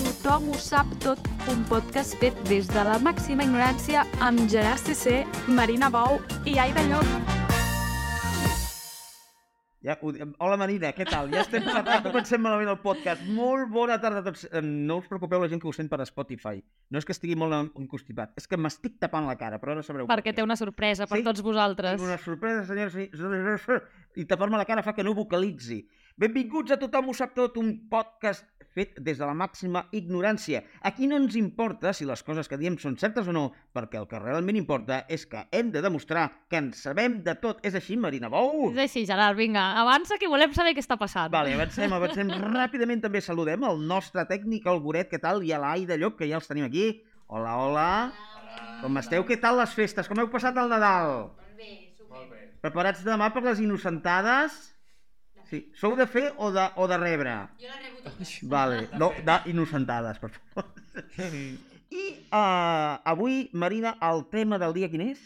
Tothom ho sap tot, un podcast fet des de la màxima ignorància amb Gerard CC, Marina Bou i Aida Llop. Ja, ho di- hola Marina, què tal? Ja estem fatal, comencem malament el podcast. Molt bona tarda a tots. Em, No us preocupeu la gent que ho sent per Spotify. No és que estigui molt en- constipat, és que m'estic tapant la cara, però ara sabreu perquè té una sorpresa per Sí, tots vosaltres. Tinc una sorpresa, senyors. i senyores. I tapar-me la cara fa que no vocalitzi. Benvinguts a Tothom ho sap tot, un podcast fet des de la màxima ignorància. Aquí no ens importa si les coses que diem són certes o no, perquè el que realment importa és que hem de demostrar que en sabem de tot. És així, Marina Bou? És així, Gerard, vinga, avança que volem saber què està passant. Vale, avancem, avancem. Ràpidament també saludem el nostre tècnic, el Goret, què tal? I a l'Aida Llop, que ja els tenim aquí. Hola, hola. Com esteu? Què tal les festes? Com heu passat el Nadal? Preparats demà per les innocentades? Sí. Sou de fer o de, o de rebre? Jo la rebo Vale, no, d'innocentades, per favor. I uh, avui, Marina, el tema del dia quin és?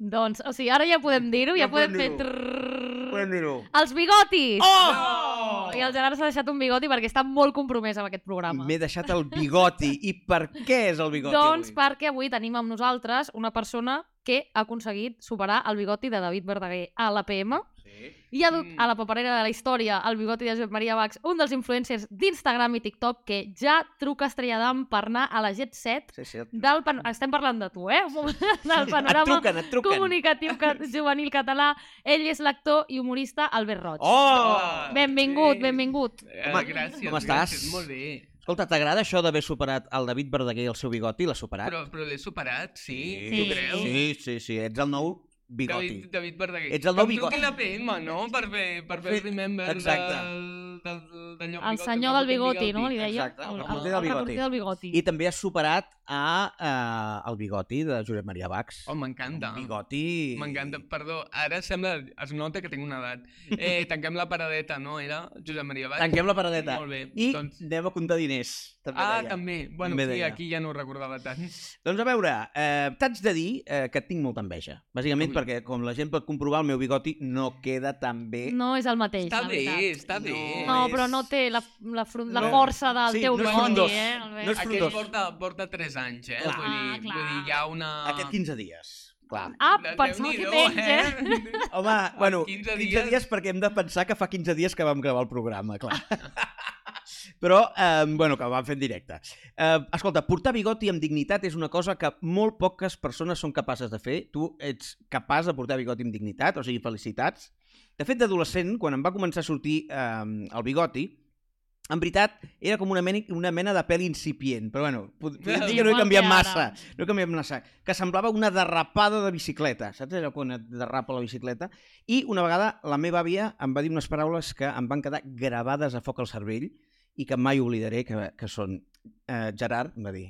Doncs, o sigui, ara ja podem dir-ho, ja, Ja podem podem, fer... dir-ho. trrrr. Podem dir-ho. Els bigotis! Oh! I el Gerard s'ha deixat un bigoti perquè està molt compromès amb aquest programa. M'he deixat el bigoti. I per què és el bigoti doncs avui? perquè avui tenim amb nosaltres una persona que ha aconseguit superar el bigoti de David Verdaguer a l'APM Sí. i ha dut a la paperera de la història el bigoti de Josep Maria Bax, un dels influencers d'Instagram i TikTok que ja truca a Estrella d'Am per anar a la Jet Set sí, sí et... del pan... estem parlant de tu, eh? Un moment, del et panorama truquen, et truquen. comunicatiu ca... juvenil català. Ell és l'actor i humorista Albert Roig. Oh! benvingut, sí. benvingut. Home, Home, Eh, gràcies, com estàs? gràcies, molt bé. Escolta, t'agrada això d'haver superat el David Verdaguer i el seu bigoti? L'ha superat? Però, però l'he superat, sí, Sí. tu creus? Sí, sí, sí. Ets el nou bigoti. David, David Verdaguer. Ets el nou Que em bigoti. truqui la PM, no? Per fer, per fer el remember Exacte. del, del, del, d'allò, El bigoti, senyor del bigoti, no? Li deia? Exacte, el reporter del bigoti. reporter del bigoti. I també has superat a, eh, el bigoti de Josep Maria Bax. Oh, m'encanta. Un bigoti... M'encanta, perdó, ara sembla, es nota que tinc una edat. Eh, tanquem la paradeta, no? Era Josep Maria Baig? Tanquem la paradeta. Molt bé, I doncs... anem a comptar diners. També Ah, deia. també. Bueno, També sí, deia. aquí ja no ho recordava tant. Doncs a veure, eh, t'haig de dir eh, que et tinc molta enveja. Bàsicament Ui. perquè, com la gent pot comprovar, el meu bigoti no queda tan bé. No és el mateix, Està la bé, veritat. està bé. No, però no té la, la, front, la No. força del Sí, teu no és bigoti, frondós. eh? Albert? No és Aquest frondós. porta, porta 3 anys, eh? Clar. Vull, dir, Ah, clar. vull dir, hi ha una... Aquest 15 dies. Clar. Ah, pensava que Déu-n'hi-do, menys, eh? eh? Home, bueno, 15 15 dies. dies... 15 dies perquè hem de pensar que fa 15 dies que vam gravar el programa, clar. Però, eh, bueno, que ho vam fer en directe. Eh, escolta, portar bigoti amb dignitat és una cosa que molt poques persones són capaces de fer. Tu ets capaç de portar bigoti amb dignitat, o sigui, felicitats. De fet, d'adolescent, quan em va començar a sortir eh, el bigoti, en veritat, era com una mena, una mena de pèl incipient, però bueno, pod- podríem dir que no he Igual canviat que ara. massa, no he canviat massa, que semblava una derrapada de bicicleta, saps allò quan et derrapa la bicicleta? I una vegada la meva àvia em va dir unes paraules que em van quedar gravades a foc al cervell i que mai oblidaré que, que són eh, Gerard, em va dir,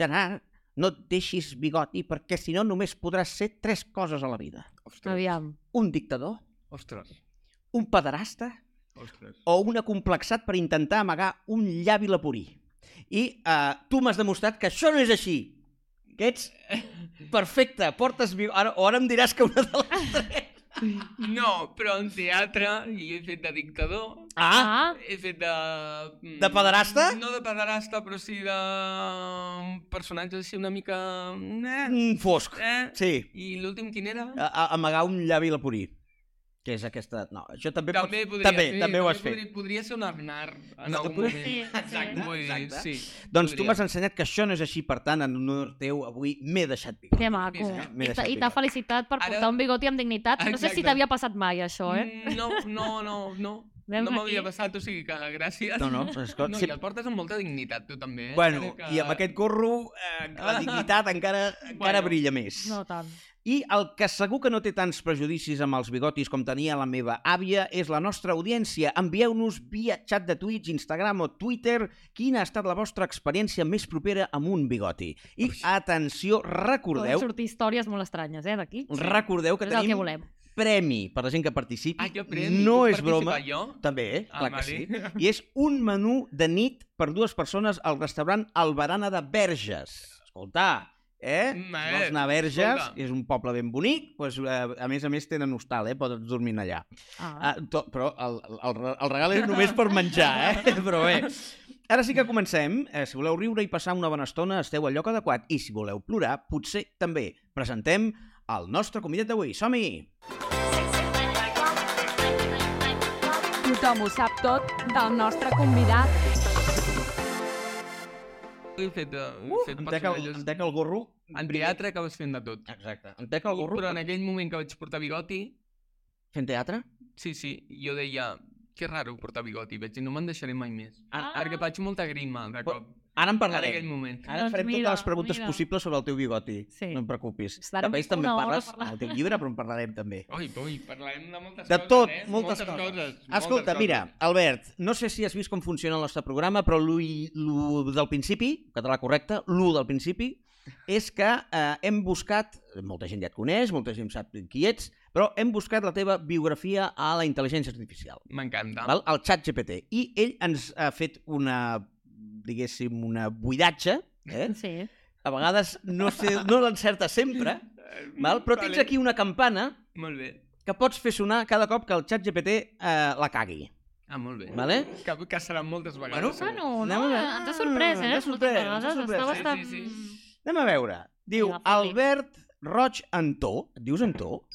Gerard, no et deixis bigoti perquè si no només podràs ser tres coses a la vida. Aviam. Un dictador, Ostres, un pederasta ostres. o un acomplexat per intentar amagar un llavi lapurí. I eh, tu m'has demostrat que això no és així. Que ets perfecte, portes... vi- Ara, o ara em diràs que una de les... No, però en teatre i he fet de dictador, Ah, Ah, he fet de... mm, De pederasta? No de pederasta, però sí de mm, personatges així una mica... Eh, mm, fosc. eh. Sí, I l'últim quin era? a, a, amagar un llavi lapurí. Que és aquesta... No, això també... També pots... podria també, ser, també ho has fet. Podria, podria ser un Aznar en No, algun podria- moment. Sí, eh? sí. Vull dir, Exacte. Sí, Doncs tu podria. m'has ensenyat que això no és així, per tant, en honor teu, avui m'he deixat viure. que maco. M'he Ah, I deixat t'ha- I picat. t'ha felicitat per Ara- portar un bigoti amb dignitat. No sé si Exacte. t'havia passat mai, això, eh? Mm, No, no, no, no. Mm, Veus no m'havia aquí? passat, o sigui que gràcies. No, no, però escolta, no, sí. i el portes amb molta dignitat, tu també. Eh? Bueno, Encara i amb aquest gorro, eh, la dignitat encara, encara Bueno. brilla més. No tant. I el que segur que no té tants prejudicis amb els bigotis com tenia la meva àvia és la nostra audiència. Envieu-nos via xat de Twitch, Instagram o Twitter quina ha estat la vostra experiència més propera amb un bigoti. I atenció, Poden recordeu, sortir històries molt estranyes, eh, d'aquí. recordeu que Però és el que tenim volem. premi per la gent que participi. Ah, jo premi, no puc és broma. participar jo? També, eh? Ah, clar que vale. sí. I és un menú de nit per dues persones al restaurant Albarana de Verges. Escolta, eh? Si Mare, vols anar a Verges, escolta. és un poble ben bonic, doncs, eh, a més a més tenen hostal, eh? Pots dormir allà. Ah. Ah, to, però el, el, re- el regal és només per menjar, eh? Però bé, ara sí que comencem. Eh, si voleu riure i passar una bona estona, esteu al lloc adequat. I si voleu plorar, potser també. Presentem el nostre convidat d'avui. Som-hi! Tothom ho sap tot del nostre convidat. He fet, uh, Uh, he fet em, teca el, personatges. em teca el gorro. En teatre acabes fent de tot. Exacte. Em teca el gorro. Però en aquell moment que vaig portar bigoti, Fent teatre? sí, sí, jo deia, que raro portar bigoti, vaig dir, no me'n deixaré mai més. Ara, Ah. ara, Perquè faig molta grima, de Però- ara cop, en en aquell parlarem. Ah. moment. Ara Doncs farem mira, totes les preguntes mira. possibles sobre el teu bigoti. Sí. No et preocupis. Estarem Després també una hora parles parlant. al teu llibre, però en parlarem també. Ui, ui, parlarem de moltes De coses, tot, eh? moltes, coses. moltes Escolta, coses. mira, Albert, no sé si has vist com funciona el nostre programa, però l'1 del principi, català correcte, l'1 del principi, és que eh, hem buscat, molta gent ja et coneix, molta gent sap qui ets, però hem buscat la teva biografia a la intel·ligència artificial, M'encanta. val? al xat GPT, i ell ens ha fet una, diguéssim, una buidatge, eh? Sí. a vegades no, sé, no l'encerta sempre, Eh, val? però tens vale. aquí una campana Molt bé. que pots fer sonar cada cop que el xat GPT eh, la cagui. Ah, molt bé. Vale? Que, que seran moltes Bueno, vegades. segur. Bueno, Anem no, a veure. ens ha sorprès, eh? Ens ha sorprès, Moltes ens ha vegades Està sorprès. Sí, bastant... sí, Anem a veure. Diu Vinga, Fili. Albert Roig Antó. Et dius Antó?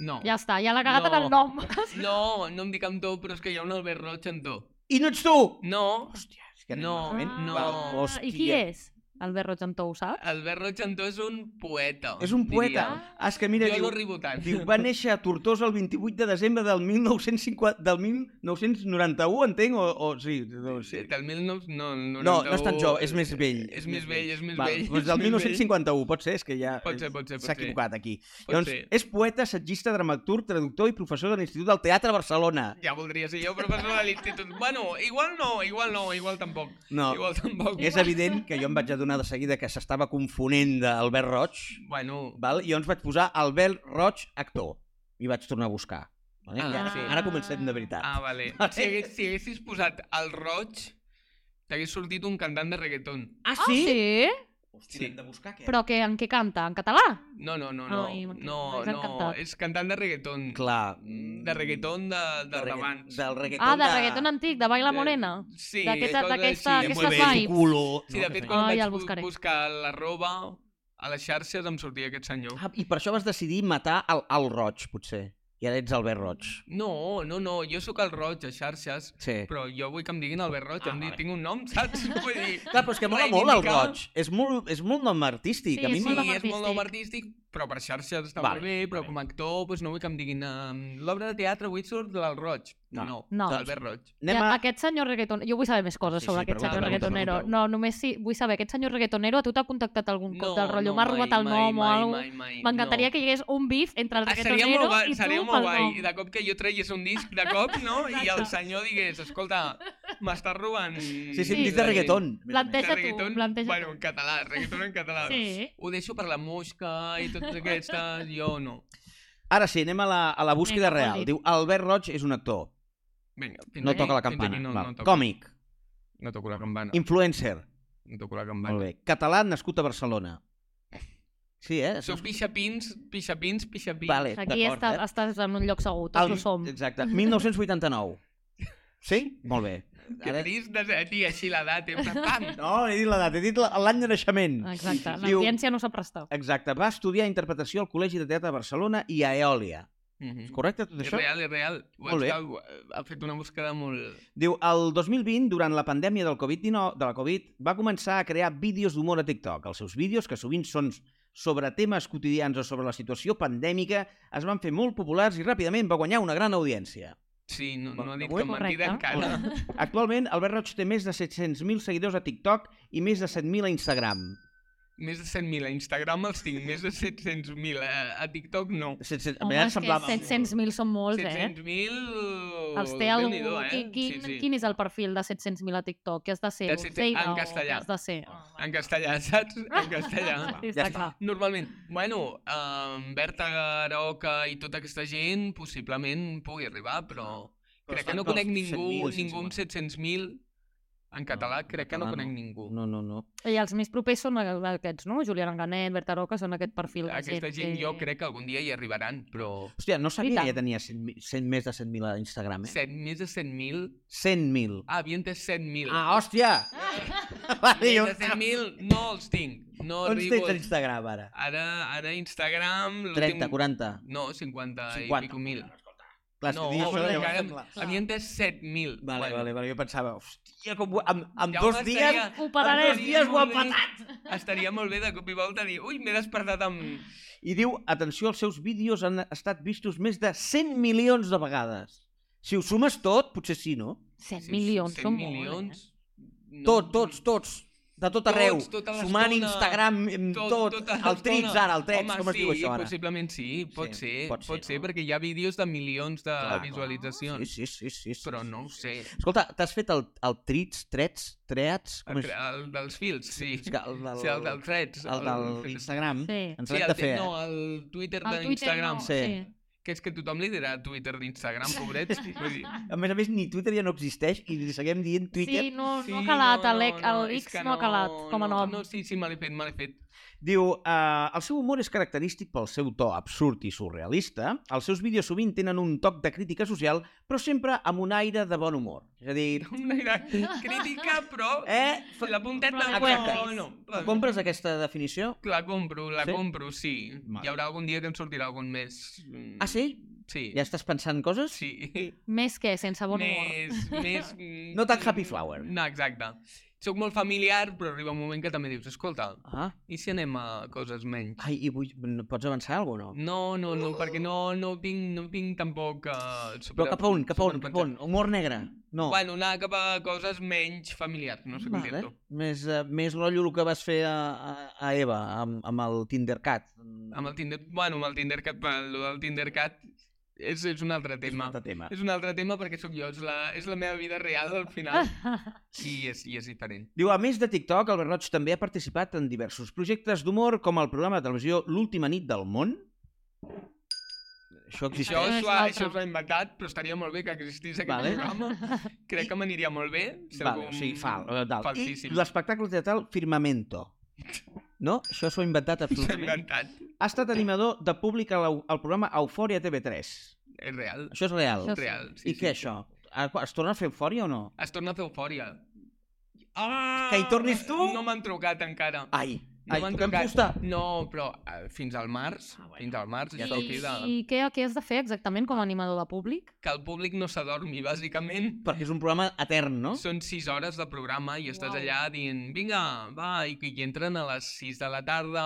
No. Ja està, ja l'ha cagat en el No. nom. No, no em dic amb tu, però és que hi ha un Albert Roig en tu. I no ets tu! No, Hòstia, és que anem No, malament. no. Val, Ah, I qui és? Albert Roig Antó, ho saps? Albert Roig en tu és un poeta. És un poeta. Diria. Ah, És que mira, jo diu, no arribo tant. diu, va néixer a Tortosa el 28 de desembre del, 1950, del 1991, entenc? O, o sí, no, sí. Del 19... No, No, no és tan jove, és més vell. eh, És més vell, és més Val, vell. Doncs és del més 1951, pot ser, és que ja Pot ser, pot ser, pot s'ha ser. equivocat aquí. vell. Pot Doncs ser. és poeta, setgista, dramaturg, traductor i professor de l'Institut del Teatre a Barcelona. Ja voldria ser jo professor de l'institut. Bueno, igual no, igual no, igual tampoc. No, Eh. Igual tampoc. És evident que jo em vaig adonar de seguida que s'estava confonent d'Albert Roig, Bueno, val? i jo ens vaig posar Albert Roig actor, i vaig tornar a buscar. Vale? Ah, ja, sí. Ara comencem de veritat. ah, vale. Vale. Si, hagués, si haguessis posat el roig, t'hagués sortit un cantant de reggaeton. ah Ah, sí? Sí. de buscar què? Però que, en què canta? En català? No, no, no, no. Ai, Ah, m'ha- no, m'has no, encantat. és cantant de reggaeton. Clar. mm, De reggaeton de, de, regga- d'abans. Del reggaeton Ah, de reggaeton antic, de Baila De- Morena. Sí, d'aquesta- coses d'aquesta- així. De aquestes Mueve tu vibes. culo. Sí, de fet, que quan Ah, ja el vaig buscaré. bu- buscar la roba a les xarxes em sortia aquest senyor. feia. Ah, I per això vas decidir matar el, el Roig, potser. I ara ets Albert Roig. No, no, no, jo sóc el roig a xarxes, Sí. però jo vull que em diguin Albert Roig, Ah, em di, vale. tinc un nom, saps? Vull dir, Clar, però és que mola molt el reivindicar- Roig. És molt, és molt nom artístic. Sí, a mi Sí, molt nom és molt nom artístic. artístic, però per xarxes està Vale, molt bé, però vale. com a actor doncs no vull que em diguin um, l'obra de teatre avui surt del Roig. No. No, no, No. Albert Roig. Anem a... Aquest senyor reggaeton... Jo vull saber més coses Sí, sobre sí, aquest pregunta, senyor pregunta, reggaetonero. pregunta. No, només si vull saber, aquest senyor reggaetonero a tu t'ha contactat algun cop del rotllo? M'ha mai, robat el mai, nom o mai, alguna mai, mai, M'encantaria no. que hi hagués un bif entre el Ah, seria reggaetonero molt guai, i tu seria pel molt guai. nom. I de cop que jo tragués un disc, de cop, no? I el senyor digués, escolta, m'estàs robant... Sí, sí, Sí. hem dit de reggaeton. De Planteja tu, reggaeton, planteja bueno, tu. en català, reggaeton en català. Sí. Ho deixo per la mosca i totes aquestes, jo no. Ara sí, anem a la, a la Vinga, búsqueda vol real. dir. Diu, Albert Roig és un actor. Vinga, fins No aquí, toca la fins campana. aquí No, Val. no, toco, Còmic. no toco la campana. Influencer. No toco la campana. Molt bé. Català nascut a Barcelona. Sí, eh? Soc pixapins, pixapins, pixapins. Vale, Aquí d'acord, estàs, eh? estàs en un lloc segur, tots El- ho som. Exacte. 1989. Sí? Molt bé. Que trist de ser aquí, així l'edat, eh? Pam! No, he dit l'edat, he dit la- l'any de naixement. Exacte, Diu, l'audiència no s'ha prestat. exacte, va estudiar interpretació al Col·legi de Teatre de Barcelona i a Eòlia. És Mhm. correcte tot És això? real, és real. Ho Molt bé. està- ho- Ha fet una búsqueda molt... Diu, el 2020, durant la pandèmia del Covid-19, de la Covid, va començar a crear vídeos d'humor a TikTok. Els seus vídeos, que sovint són sobre temes quotidians o sobre la situació pandèmica, es van fer molt populars i ràpidament va guanyar una gran audiència. Sí, no, no ha dit Avui? que mentida Correcte. encara. Actualment, Albert Roig té més de 700.000 seguidors a TikTok i més de 7.000 a Instagram. Més de 100.000 a Instagram els tinc, més de 700.000 a, a TikTok no. 700... Home, és que 700.000 són molts, eh? 700.000 Els té algú... Déu-n'hi-do, eh? Qui, quin, Sí, sí. quin és el perfil de 700.000 a TikTok? Què has de ser? De 700 Orfeida en o què castellà. Has de ser? En castellà, saps? En castellà. Sí, Ja està està. clar. Normalment, bueno, um, Berta Garoca i tota aquesta gent possiblement pugui arribar, però, Però crec estan que no pels conec ningú, 100.000, ningú amb 700.000 en català, en crec que no català conec no. ningú. No, no, no. I els més propers són aquests, no? Julián Enganet, Berta Roca, són aquest perfil de Aquesta gent jo crec que algun dia hi arribaran, però Hòstia, no sabia tant. que ja tenia 100, 100, més de 100.000 a Instagram, eh? 100, més de 100.000... 100.000. Ah, havia entès 100.000. Ah, hòstia! Va dir, més on, de 100.000 no els tinc, no on arribo. tens a Instagram, ara? Ara, ara Instagram... l'últim- 30, 40... No, 50, 50. 50. i pico mil. Clar, no, No, dius, home, home, encara- sembla... Havia entès 7.000. Vale, vale, vale, jo pensava, hòstia, com... ho- Amb, amb Ja dos ho dies... estaria- Ho pararem. Amb dos dies ho ha Molt bé. patat! Estaria molt bé de cop i volta dir ui, m'he despertat amb... I diu, atenció, els seus vídeos han estat vistos més de 100 milions de vegades. Si ho sumes tot, potser sí, no? 100 milions, 100 són eh? molt, milions. No. no tot, tots, tots. De tot Tots, arreu. tota l'estona. Sumant Instagram, em, tot, tot, tota el Trix l'estona. ara, el Trix, Home, com es sí, diu això ara? Possiblement sí, pot Sí, ser, pot pot, ser, pot ser, no? perquè hi ha vídeos de milions de Clar, clar. visualitzacions, Sí, sí, sí, sí, sí. però sí, no ho sí. sé. Escolta, t'has fet el, el Trix, Trets, Treats? Com El, és? el dels fils, sí. És que el del, Sí, el del Threads. el del Instagram. Sí. Ens Sí, l'hem el, de fer. te- no, el Twitter El Twitter d'Instagram. no, Sí. sí. Que és que tothom li dirà Twitter d'Instagram, pobrets. Vull dir, A més a més, ni Twitter ja no existeix i li seguim dient Twitter. Sí, no, sí, no ha calat, no, el, no, no, el és X que no ha calat com a no, nom. No, sí, sí, me l'he fet, me l'he fet. Diu, eh, el seu humor és característic pel seu to absurd i surrealista. Els seus vídeos sovint tenen un toc de crítica social, però sempre amb un aire de bon humor. És a dir, Una gran crítica, però... eh? fa- La punteta... Però la Exacte. compres. No, no. Compres aquesta definició? La compro, la Sí? sí? compro, sí. Vale. Hi haurà algun dia que em sortirà algun més... mm, Ah, sí? Sí. Ja estàs pensant coses? Sí. Més que, sense bon humor. més, més... mm, No tan happy flower. No, exacte. Soc molt familiar, però arriba un moment que també dius, escolta, Ah, i si anem a coses menys? ai, i vull... no- pots avançar alguna cosa, no? No, no, no, perquè no, no vinc, no vinc tampoc a... Però cap a on, cap a on, cap a on? Humor negre? No. Bueno, anar cap a coses menys familiars, no sé com Vale. dir-ho. Més, uh, més rotllo el que vas fer a, a, a Eva, amb, amb el Tindercat. Amb el Tinder... Bueno, amb el Tindercat, el del Tindercat és, és un És altre un tema. altre tema. És un altre tema perquè sóc jo, és la, és la meva vida real al final i és, i és diferent. Diu, a més de TikTok, el Roig també ha participat en diversos projectes d'humor, com el programa de televisió L'última nit del món. Això existeix. Això no és s'ho ha, l'altre. això s'ho ha inventat, però estaria molt bé que existís aquest Vale. vale. programa. Crec que m'aniria molt bé. ser vale, algun o sigui, fal, eh, tal. I Falsíssim. l'espectacle teatral Firmamento. No? Això s'ho ha inventat S'ha absolutament. inventat. Ha estat animador de públic al, al programa Eufòria TV3. És real. Això és real. Això És real. I què, això? Ah, Es torna a fer Eufòria o no? Es torna a fer eufòria. Ah! Que hi tornis tu? No m'han trucat encara. Ai, No ai, m'han toquem trucat. fusta. No, però eh, fins al març, Ah, bueno. fins al març, I, ja aquí de... i què, què has de fer exactament com a animador de públic? que el públic no s'adormi, bàsicament. Perquè és un programa etern, no? Són 6 hores de programa i estàs Uau. allà dient, vinga, va, i, i entren a les 6 de la tarda,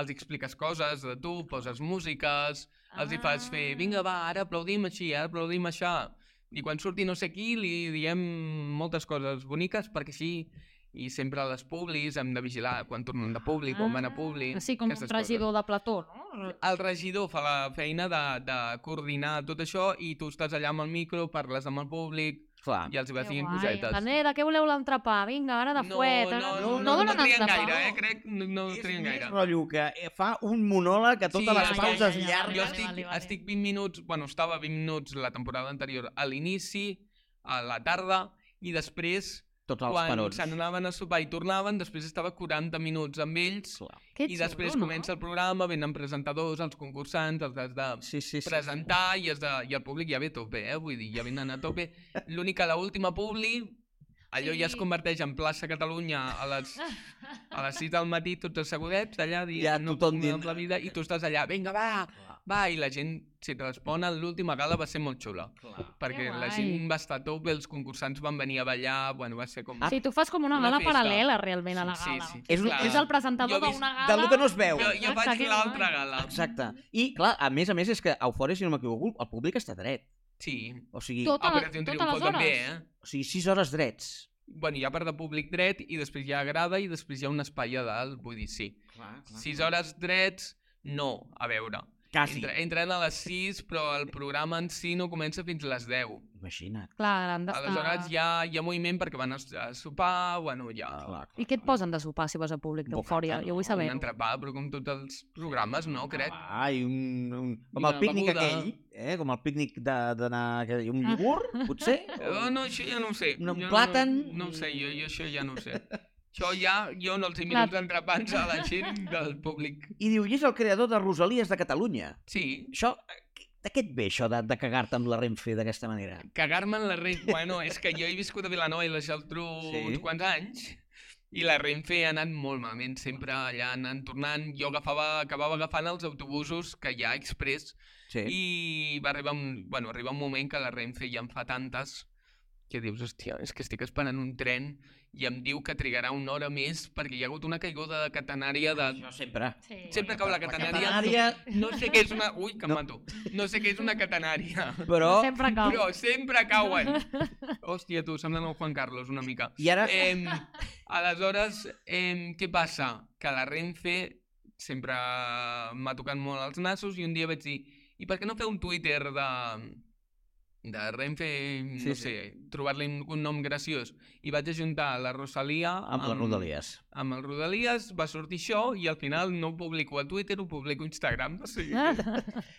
els expliques coses de tu, poses músiques, els hi fas fer, Ah. vinga, va, ara aplaudim així, ara aplaudim això. I quan surti no sé qui li diem moltes coses boniques perquè així i sempre a les publis hem de vigilar quan tornen de públic, quan van a públic... Ah. Sí, com un aquestes regidor de plató, no? el regidor fa la feina de, de coordinar tot això i tu estàs allà amb el micro, parles amb el públic Clar. i els hi vas Ah. Que dient guai. cosetes. Manera, què voleu l'entrepà? Vinga, ara de fuet. no, ara- no, no, no no, no, donen trien entrepà. gaire, eh? Crec no, no és trien més gaire. rotllo que eh, fa un monòleg a totes Sí, les ja, ja, pauses ja, ja, llargues. Jo Vale, estic, vale, vale. estic 20 minuts, bueno, estava 20 minuts la temporada anterior a l'inici, a la tarda, i després, Tots els quan parons. se n'anaven a sopar i tornaven, després estava 40 minuts amb ells, Clar. Que i després xulo, no? comença el programa, venen presentadors, els concursants, els has de Sí, sí, sí. presentar i, has de, i el públic ja ve a tope, eh? Vull dir, ja venen a tope. L'únic que l'última publi, allò ja es Sí. converteix en plaça Catalunya a les, a les 6 del matí, tots asseguts, allà dient, Ja no tothom puc dient- "Eh". amb la vida, i tu estàs allà, vinga, va, Clar, va, i la gent s'hi respon. L'última gala va ser molt xula, clar. perquè la guai. gent va estar a tope, els concursants van venir a ballar, bueno, va ser com... Sí, tu fas com una, Una gala festa. paral·lela realment a la Sí, gala. sí. Ah. És un- Clar. És el Jo presentador he vist- d'una gala. Del que no es veu. Jo, jo Exacte, vaig que l'altra guai. gala. Exacte. I, clar, a més a més, és que a Eufòria, si no m'equivoco, el públic està dret. Sí. O sigui, Tot. Ah, Tota la- però té un totes triomfo les també, hores. eh? o sigui 6 hores drets. bueno, hi ha part de públic dret i després hi ha grada i després hi ha un espai a dalt, vull dir, sí. Clar, Sis hores drets, no, a veure. Quasi. Entre, entren a les 6, però el programa en si no comença fins a les 10. Imagina't. Clar, han d'estar... Aleshores hi ha, hi ha moviment perquè van a, a sopar, bueno, ja... Clar, clar. I què et posen de sopar si vas a públic d'eufòria? Bocata, Jo vull saber. Un entrepà, però com tots els programes, no, crec. Ah, i un, un... Com I el una pícnic beguda. Ah. aquell, eh? Com el pícnic de- d'anar... aquell- Un iogurt, potser? Oh, no, això ja no ho sé. Un Jo plàtan? No, no ho sé, jo, jo això ja no ho sé. Això ja, jo no els hi miro els entrepans a la gent del públic. I diu, i és el creador de Rosalies de Catalunya. Sí, Això, de què et ve això de, de cagar-te amb la Renfe d'aquesta manera? cagar-me en la Renfe... Bueno, és que jo he viscut a Vilanova i la Geltrú Sí. sí. uns quants anys i la Renfe ha anat molt malament, sempre allà anant, tornant. Jo agafava, acabava agafant els autobusos que hi ha express Sí. i va arribar un, bueno, arriba un moment que la Renfe ja en fa tantes que dius, hòstia, és que estic esperant un tren i em diu que trigarà una hora més perquè hi ha hagut una caiguda de catenària de... Això sempre. Sí. Sempre cau la catenària. Catenària, No sé què és una... Ui, que em No. mato. No sé què és una catenària. però... Sempre cau. Però sempre cauen. Hòstia, tu, semblen el Juan Carlos una mica. I ara... Em, aleshores, em, què passa? Que la Renfe sempre m'ha tocat molt els nassos i un dia vaig dir i per què no fer un Twitter de, de Renfe, Sí, sí. no sé, trobar-li un, un nom graciós. I vaig ajuntar la Rosalia Amb les rodalies. amb el Rodalies, va sortir això i al final no ho publico a Twitter, ho publico a Instagram. O sigui, Ah.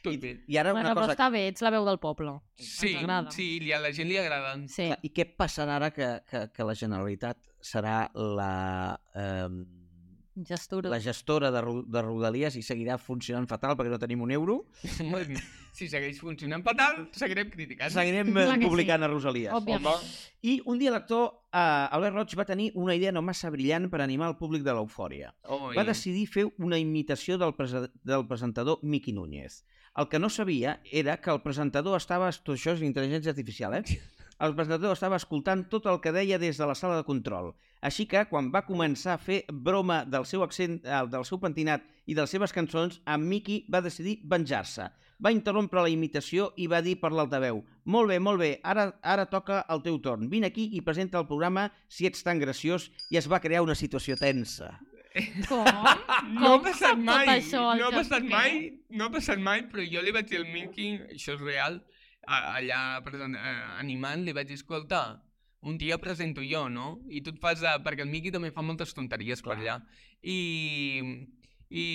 tot bé. I ara Bueno, una però cosa... està bé, ets la veu del poble. Sí, Ens agrada. sí, li- a la gent li agraden. Sí. I què passarà ara que, que, que la Generalitat serà la, eh, Gestura. la gestora de, Ro- de Rodalies i seguirà funcionant fatal perquè no tenim un euro? Bueno, si segueix funcionant fatal, seguirem criticant. Seguirem eh, Clar que sí. publicant a Rosalies. Òbviament. I un dia l'actor eh, Albert Roig va tenir una idea no massa brillant per animar el públic de l'eufòria. Oi. va decidir fer una imitació del, prese- del presentador Miqui Núñez. El que no sabia era que el presentador estava... Tot això és intel·ligència artificial, eh? El presentador estava escoltant tot el que deia des de la sala de control. Així que, quan va començar a fer broma del seu accent, eh, del seu pentinat i de les seves cançons, en Miqui va decidir venjar-se. Va interrompre la imitació i va dir per l'altaveu «Molt bé, molt bé, ara, ara toca el teu torn. Vine aquí i presenta el programa si ets tan graciós» i es va crear una situació tensa. Com? Ah, No ha Com passat sap mai, Tot això, el no ha Jordi passat Piqué? mai, no ha passat mai, però jo li vaig dir al Minky, això és real, a- allà present, eh, animant, li vaig dir, escolta, un dia presento jo, no? I tu et fas de... Perquè el Miqui també fa moltes tonteries Clar. per allà. I, i,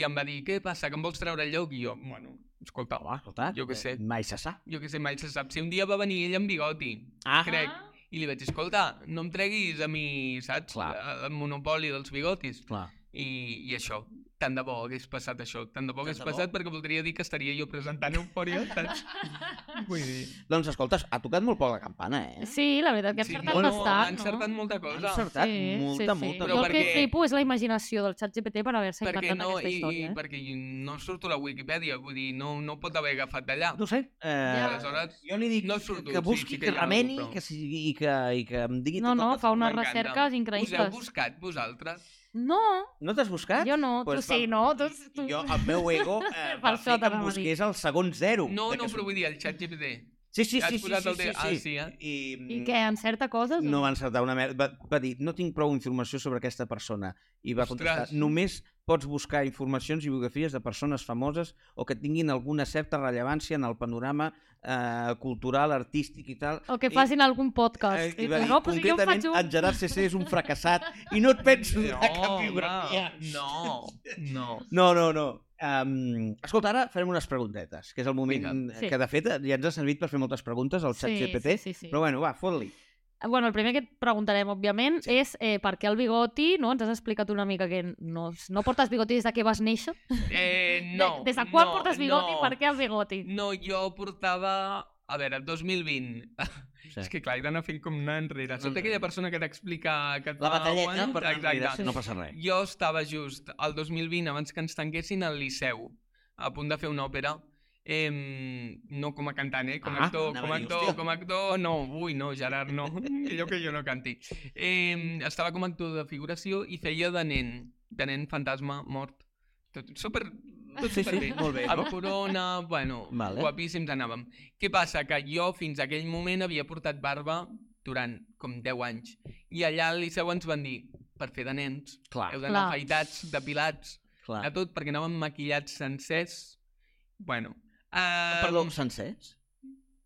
I em va dir, què passa, que em vols treure el lloc? I jo, bueno, escolta, va. Escolta, Jo què sé. Mai se sap. Jo què sé, mai se sap. Si un dia va venir ell amb bigoti, Ah, crec. I li vaig dir, escolta, no em treguis a mi, saps? Clar. El monopoli dels bigotis. clar. I, i això, tant de bo hagués passat això, tant de bo hagués de bo. passat perquè voldria dir que estaria jo presentant Eufòria, saps? Vull dir... Doncs escolta, ha tocat molt poc la campana, eh? Sí, la veritat que ha encertat molt- bastant, ha encertat molta Ha cosa. encertat molta, molta. Jo Però el que perquè- flipo és la imaginació del xat GPT per haver-se Perquè inventat no, aquesta i, i, història. eh? perquè no surto a la Wikipedia, vull dir, no, no pot haver agafat d'allà. No ho sé. Eh, Ja. Aleshores, Jo li dic No surto, que sí, busqui, sí que que, hi ha remeni algú, però- que, si, i, que, i que em digui No, tot no, el que... fa unes m'encanta. recerques us heu increïbles. buscat vosaltres? No, No t'has buscat? jo no, tu Pues sí, va. no? Tu, tu... Jo, el meu ego, eh, Per va això fer que em t'anava a dir. busqués el segon zero. No, de que no, però surt. vull dir, el xat GPT. Sí, sí, Has sí, sí, posat sí, el sí, de- ah, sí, eh? I, mm, I què, encerta coses? No va encertar una merda. Va, va dir, no tinc prou informació sobre aquesta persona. I va contestar, Ostres. només pots buscar informacions i biografies de persones famoses o que tinguin alguna certa rellevància en el panorama eh, cultural, artístic i tal. O que facin algun Eh, podcast. i I va tu, dir, no, però si jo en concretament, faig un... en Gerard CC és un fracassat i no et penso no, cap biografia. home, no, no. No, no, no. Um, escolta, ara farem unes preguntetes, que és el moment Vinga. Vinga. Sí. que, de fet, ja ens ha servit per fer moltes preguntes al xat GPT. Sí, sí, sí. Però bueno, va, fot-li. Bueno, el primer que et preguntarem, òbviament, sí. és eh, per què el bigoti, no? Ens has explicat una mica que no, no portes bigoti des de que vas néixer. Eh, no, De, des de quan no, portes bigoti, no. per què el bigoti? No, jo portava... A veure, el 2020. Sí. És que clar, he d'anar fent com anar enrere. Sota aquella persona que t'explica... que et La Ah, fa batalleta, aguant, per tant, mira, exacte. no passa res. Jo estava just al 2020, abans que ens tanquessin, al Liceu, a punt de fer una òpera. Eh, no com a cantant, eh? Com Ah, a actor, anava com a a dir, actor, hòstia. com a actor... No, ui, no, Gerard, no. Allò que jo no canti. Eh, estava com a actor de figuració i feia de nen, de nen fantasma mort. Tot, super, tot Sí, sí, superbé molt bé. Ah, amb corona, bueno, Vale. vale. guapíssims anàvem. Què passa? Que jo fins aquell moment havia portat barba durant com 10 anys. I allà al Liceu ens van dir, per fer de nens, Clar, heu d'anar Clar. afaitats, depilats, clar. de tot, perquè anàvem maquillats sencers, Bueno. Uh, Ah, Perdó, sencers?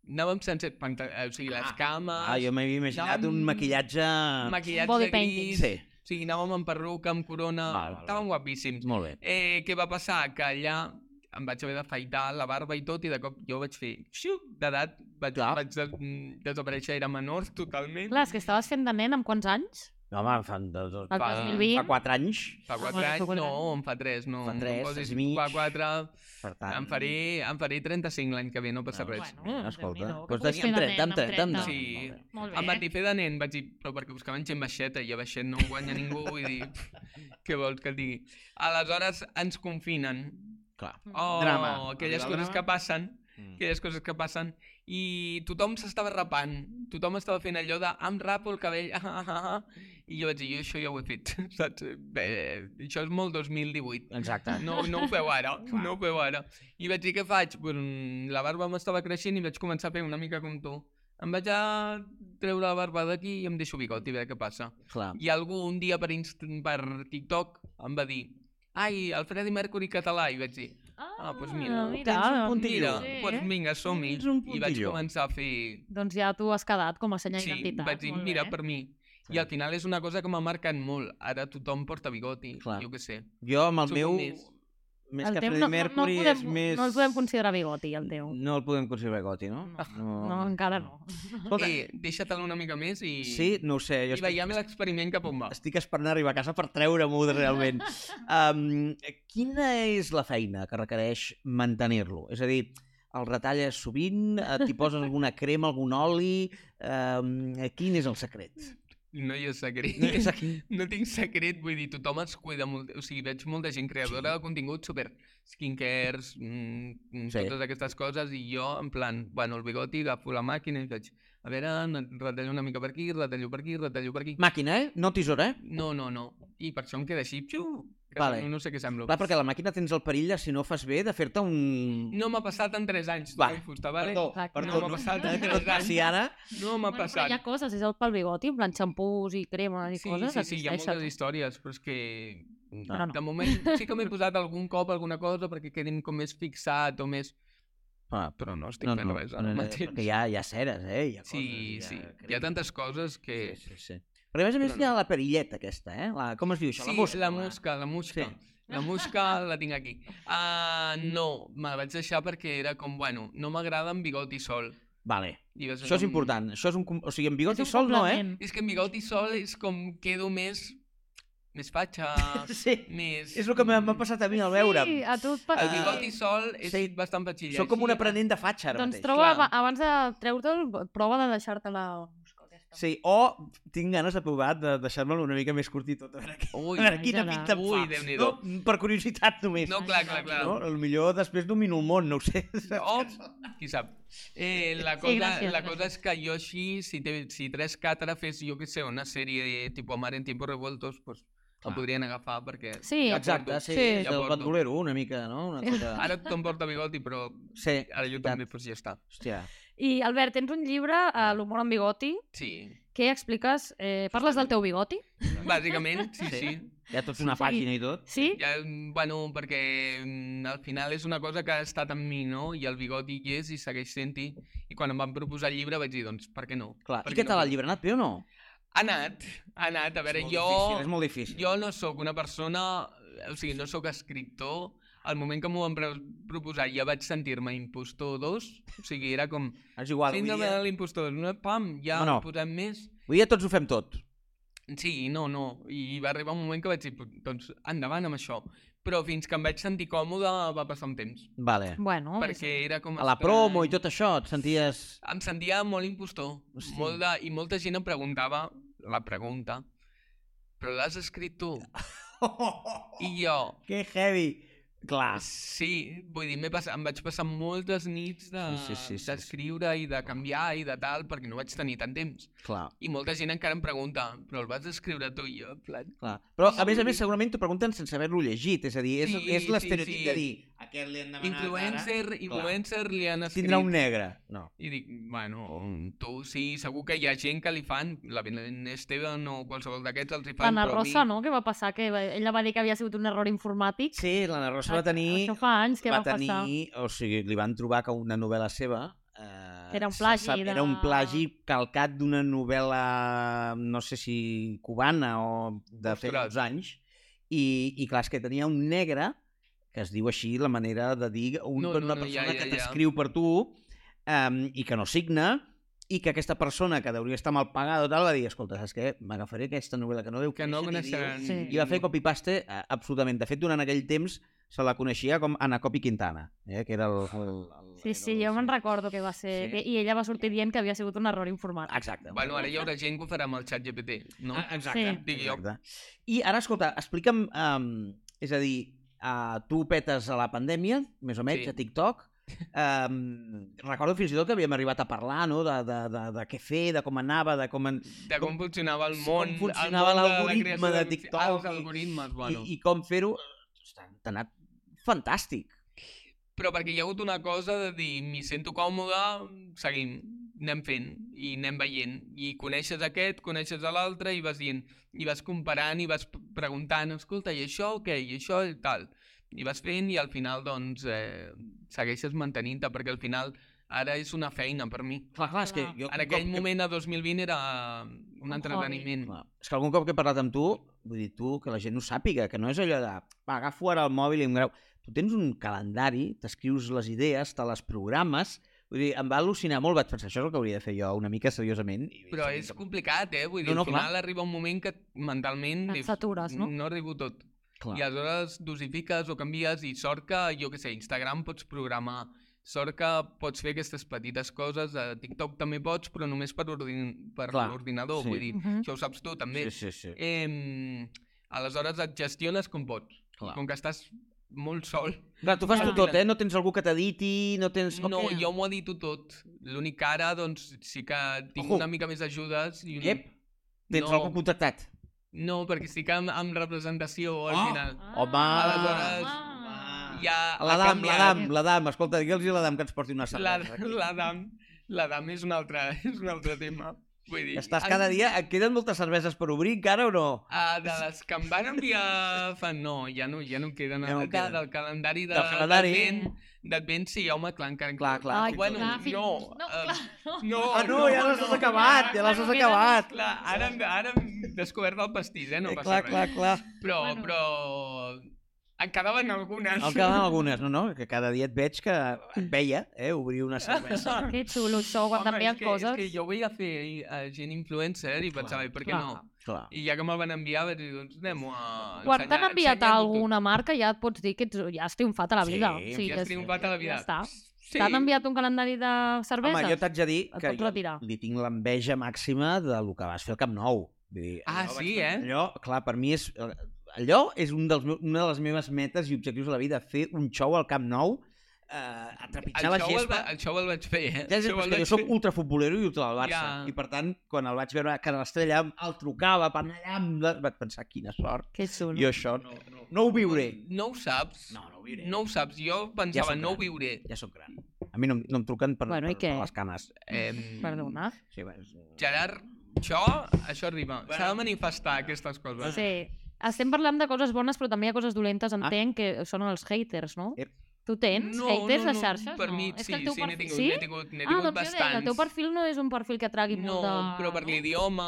Anàvem sense panta... eh, O sigui, les Ah. cames... Ah, jo m'havia imaginat anàvem un maquillatge... Maquillatge Body painting. gris... Sí, O sigui, anàvem amb perruca, amb corona... Val, val, Estàvem guapíssims. molt bé. Eh, què va passar? Que allà em vaig haver d'afaitar la barba i tot, i de cop jo vaig fer... Xiu, d'edat, vaig, Clar. vaig des mm, desaparèixer, era menor totalment. Clar, és que estaves fent de nen amb quants anys? No, home, fa, de, de, El Fa- 2020? fa 4 anys, Fa Ah, quatre bueno, anys, tu- no, en fa tres, no. Fa no em tres, posis tres i mig. Ah. Fa quatre, per tant... em faré, em faré 35 l'any que ve, no passa No, res. bueno, Mira, escolta, Ah, Déu-n'hi-do, que doncs puguis teníem fer de 30, nen amb amb 30. 30. amb Sí. Molt Em vaig bé. dir fer de nen, vaig dir, però perquè buscaven gent baixeta i a baixet no guanya ningú, vull dir, què vols que et digui? Aleshores ens confinen. Clar. Mm. Oh, Drama. aquelles Arriba el drama. coses que passen, Mm. aquelles coses que passen, i tothom s'estava rapant, tothom estava fent allò de em rapo el cabell, ah, ah, ah, ah", i jo vaig dir, jo això ja ho he fet, saps? Bé, això és molt 2018. Exacte. No, no ho feu ara, no ho feu ara. I vaig dir, què faig? Pues, mm, la barba m'estava creixent i vaig començar a fer una mica com tu. Em vaig a treure la barba d'aquí i em deixo bigot i a veure què passa. Clar. I algú un dia per, Inst per TikTok em va dir ai, el Freddie Mercury català, i vaig dir ah, doncs mira, mira, tens un mira, puntillo. sí, Sí, doncs eh? vinga, som-hi. Tens un I vaig puntillo. començar a fer... Doncs ja tu has quedat com a senya Sí, d'identitat. vaig dir, molt mira, bé. per mi. Sí. I al final és una cosa que m'ha marcat molt. Ara tothom porta bigoti, Clar. jo què sé. Jo amb el Sóc meu, un més. més El que teu Freddie Mercury, no, no el és podem, més... No el podem considerar bigoti, el teu. No el podem considerar goti, no? No, No, encara no. Escolta, Eh, deixa-te'l una mica més i... sí, no ho sé, jo I estic, veiem l'experiment cap on va. estic esperant arribar a casa per treure-m'ho de realment. Um, quina és la feina que requereix mantenir-lo? És a dir, el retalles sovint, eh, t'hi poses alguna crema, algun oli... Um, quin és el secret? No hi ha secret. No és aquí. No tinc secret, vull dir, tothom es cuida molt. O sigui, veig molta gent creadora Sí. sí. de contingut, super skincares, mm, Sí. sí. totes aquestes coses, i jo, en plan, bueno, el bigoti, agafo la màquina i faig, a veure, n- retallo una mica per aquí, retallo per aquí, retallo per aquí. Màquina, eh? No tisora, eh? No, no, no. I per això em queda així, xiu, que Vale. no, no sé què semblo. Clar, perquè la màquina tens el perill de, si no fas bé, de fer-te un... No m'ha passat en 3 anys, Va, va. Fusta, vale? Perdó, Exacte. perdó. No m'ha passat en no et 3 anys. passi ara. No m'ha Bueno, però passat. hi ha coses, és el pel bigoti, en plan xampús i cremes i Sí, coses. sí, sí, hi ha existeixen. moltes històries, però és que... No, No, no. no. De moment sí que m'he posat algun cop alguna cosa perquè quedin com més fixat o més... Ah, Però no estic no, fent no, res no, ara no, mateix. perquè hi ha, hi ha ceres, eh? Hi ha coses, Sí, sí. Hi ha tantes coses que... Sí, sí, sí. Però a més a més Però hi ha la perilleta aquesta, eh? La, com es diu això? Sí, la eh. mosca. la mosca, la mosca. Sí. La mosca la tinc aquí. Uh, no, me la vaig deixar perquè era com, bueno, no m'agrada amb bigoti sol. Vale. I vas Això és com- important. Això és un... com- O sigui, amb És bigot i un sol no, eh? complement. És que amb bigoti sol és com quedo més... Més fatxa, Sí. més... És el que m'ha m'ha passat a mi al veure. Sí, a tu et passa. El bigoti sol és Sí. bastant patxilla. Sóc com un així- aprenent de fatxa ara Doncs mateix. troba, Clar. ab- abans de treure-te'l, prova de deixar-te la... Sí, o tinc ganes de provar de deixar-me'l una mica més curt i tot. A veure, què- Ui, a veure quina Angela. pinta em Ui, fa. Déu-n'hi-do. no, per curiositat només. No, clar, clar, clar. No? El millor després domino el món, no ho sé. O, qui sap. Eh, la, cosa, Sí, gràcies, la cosa és que jo així, si, te, si tres càtara fes, jo què sé, una sèrie de tipus Mar en tiempos revueltos, pues, la Clar. podrien agafar perquè... Sí. ja Exacte, porto- sí, Sí. sí. ja el porto. bandolero, una mica, no? Una cosa... Ara tothom porta bigoti, però Sí, ara jo Veritat. també, pues ja està. hòstia. I, Albert, tens un llibre, Ah. eh, L'humor amb bigoti, Sí, que expliques... Eh, parles del teu bigoti? bàsicament, sí, Sí. sí. Hi ha tots una Sí. pàgina i tot. Sí? Ja, bueno, perquè mm, al final és una cosa que ha estat amb mi, no? I el bigoti hi és i segueix sent-hi. I quan em van proposar el llibre vaig dir, doncs, per què no? Clar. Per I què no? tal, el llibre? Ha anat bé o no? Ha anat, ha anat. A veure, Mm. és molt jo... Difícil, és molt difícil. Jo no sóc una persona, o sigui, no sóc escriptor. Al moment que m'ho van pre- proposar ja vaig sentir-me impostor 2, o sigui, era com És igual, avui síndrome dia, de l'impostor, no? pam, No, ja no. no, no. posem més. avui dia tots ho fem tot. Sí, no, no, i va arribar un moment que vaig dir, doncs endavant amb això. Però fins que em vaig sentir còmode va passar un temps, Vale. Bueno, perquè era com... A la estrany. promo i tot això, et senties... Em sentia molt impostor, Hosti. molt de... i molta gent em preguntava la pregunta, però l'has escrit tu? I jo, Que heavy. Clar. Sí, vull dir, m'he passat, em vaig passar moltes nits d'escriure Sí, sí, de, sí, sí, sí. d'escriure i de canviar i de tal, perquè no vaig tenir tant temps. Clar. I molta gent encara em pregunta, però el vas escriure tu i jo, en plan... Clar. Però, a més a més, segurament t'ho pregunten sense haver-lo llegit. És a dir, és, Sí, és l'estereotip sí, sí. de dir Aquest li Ah, han demanat ara... Influencer, influencer li han escrit... Tindrà un negre. No. I dic, bueno, tu sí, segur que hi ha gent que li fan, la Belén Esteban o qualsevol d'aquests els hi fan, L'Anna però a mi- Rosa, no? Què va passar? Que va- ella va dir que havia sigut un error informàtic. Sí, l'Anna Rosa va tenir... Això fa anys que va, tenir, passar. O sigui, li van trobar que una novel·la seva... Eh, Era un se plagi sap- de- Era un plagi calcat d'una novel·la, no sé si cubana o de fer Ostres. uns anys. I, I clar, és que tenia un negre, que es diu així la manera de dir un, No, no, no, una no, ja, persona ja, que ja. t'escriu per tu um, i que no signa, i que aquesta persona que hauria estar mal pagada o tal va dir, escolta, saps què? M'agafaré aquesta novel·la que no deu que ni no Déu, coneixeran... Sí. i va fer copy-paste eh, absolutament. De fet, durant aquell temps se la coneixia com Ana Copy Quintana, eh, que era el... el, el Sí, sí, jo me'n recordo que va ser... Sí. Sí. I ella va sortir dient que havia sigut un error informàtic. Exacte. Bueno, ara hi haurà gent que ho farà amb el xat GPT, no? Ah, Exacte. Sí. Digui "Oh, jo. exacte. I ara, escolta, explica'm... Um, és a dir, uh, tu petes a la pandèmia, més o menys, Sí. sí. a TikTok. Um, recordo fins i tot que havíem arribat a parlar no? de, de, de, de què fer, de com anava, de com... En... De com funcionava el com món, funcionava el món de la l'algoritme creació de del- TikTok Ah, els i- algoritmes, bueno. I, i com fer-ho. T'ha t'ha anat fantàstic. Però perquè hi ha hagut una cosa de dir, m'hi sento còmode, seguim, anem fent i anem veient. I coneixes aquest, coneixes a l'altre i vas dient, i vas comparant i vas p- preguntant, escolta, i això què, i això i tal. I vas fent i al final, doncs, eh, segueixes mantenint-te, perquè al final ara és una feina per mi. Clar, clar, és que... Clar. Jo, En aquell com- moment, a 2020, era un entreteniment. Clar, És que algun cop que he parlat amb tu, vull dir, tu, que la gent ho sàpiga, que no és allò de, va, agafo ara el mòbil i em grau. Tu tens un calendari, t'escrius les idees, te les programes, vull dir, em va al·lucinar molt, vaig pensar, això és el que hauria de fer jo, una mica seriosament. I Però sí, és complicat, eh? Vull dir, No, no, al final clar. arriba un moment que mentalment... Et dius, satures, no? No arribo tot. Clar. I aleshores dosifiques o canvies i sort que, jo que sé, Instagram pots programar, sort que pots fer aquestes petites coses, a TikTok també pots, però només per, ordin per Clar, l'ordinador, sí. vull dir, Mhm. això ho saps tu també. Sí, sí, sí. Em, aleshores et gestiones com pots, Clar. com que estàs molt sol. Clar, tu fas tu Clar. tot, eh? No tens algú que t'editi, no tens... Ah, No, Ok. jo m'ho edito tot. L'únic que ara, doncs, sí que tinc Ojo. una mica més ajudes. I un... Ep, tens no. algú contactat. No, perquè estic amb, amb representació al Ah! Oh! final. Home. Ah, Aleshores, Ah. Ja ha L'Adam, canviat. l'Adam, l'Adam, escolta, digue'ls a l'Adam que ens porti una La- cervesa. aquí. L'Adam, l'Adam és un altre, és un altre tema. Vull dir, Estàs cada dia... Et queden moltes cerveses per obrir encara o no? Ah, de les que em van enviar fa... No, ja no, ja no em queden. Ja Ja no no en queden. queden. Del calendari de, Del calendari. d'advent- D'advent, sí, home, clar, encara... en- Clar, clar. Ai, fins bueno, i tot. clar, fins- no, no, eh, clar, no. No, Ah, no, ja les has acabat, ja les has Bueno, queden- acabat. Clar, ara, hem- ara hem descobert el pastís, eh? No Eh, passa clar, res. clar, clar. Però, Bueno. però... En quedaven algunes. El quedaven algunes, no, no? Que cada dia et veig que et veia, eh? Obrir una cervesa. Que xulo això, quan Home, t'envien és que, coses. És que jo volia fer eh, gent influencer i pensava, i per què clar. no? Clar. I ja que me'l van enviar, vaig dir, doncs anem-ho a... Quan t'han ensenyar- enviat a ensenyar-ho tot. alguna marca ja et pots dir que ets, ja has triomfat a la Sí, vida. o sigui, ja que has és- triomfat a la vida. Ja està. Sí. T'han enviat un calendari de cerveses? Home, jo t'haig de dir Et que pots jo retirar. li tinc l'enveja màxima de lo que vas fer al Camp Nou. Vull dir, Ah, allò sí, vaig- eh? Allò, clar, per mi és... eh, Allò és un dels, meu- una de les meves metes i objectius de la vida, fer un xou al Camp Nou, eh, a trepitjar el la show el, gespa... va, el show el vaig fer, eh? Ja El és, show és el que vaig jo sóc fer. ultrafutbolero i ultra del Barça. Ja. I per tant, quan el vaig veure que l'Estrella el trucava per anar allà, amb la- vaig pensar, quina sort. Que xulo. Jo això no, no ho viuré. No ho saps. No, no ho viuré. No ho saps. Jo pensava, sóc no ho gran. viuré. Ja sóc gran. A mi no, em- no em truquen per, Bueno, i per, per què? les canes. Eh, Perdona. Sí, va, és... Gerard, això, això arriba. S'ha de manifestar aquestes coses. Sí. Estem parlant de coses bones, però també hi ha coses Ah. dolentes, entenc, que són els haters, no? Ep. Tu tens No, haters no, a no, xarxes? per no. mi és que el sí, teu sí, n'he perfil... tingut- sí? n'he tingut- n'he ah, tingut doncs jo deia, el teu bastants. perfil no és un perfil que tragui No, molt de... però per l'idioma,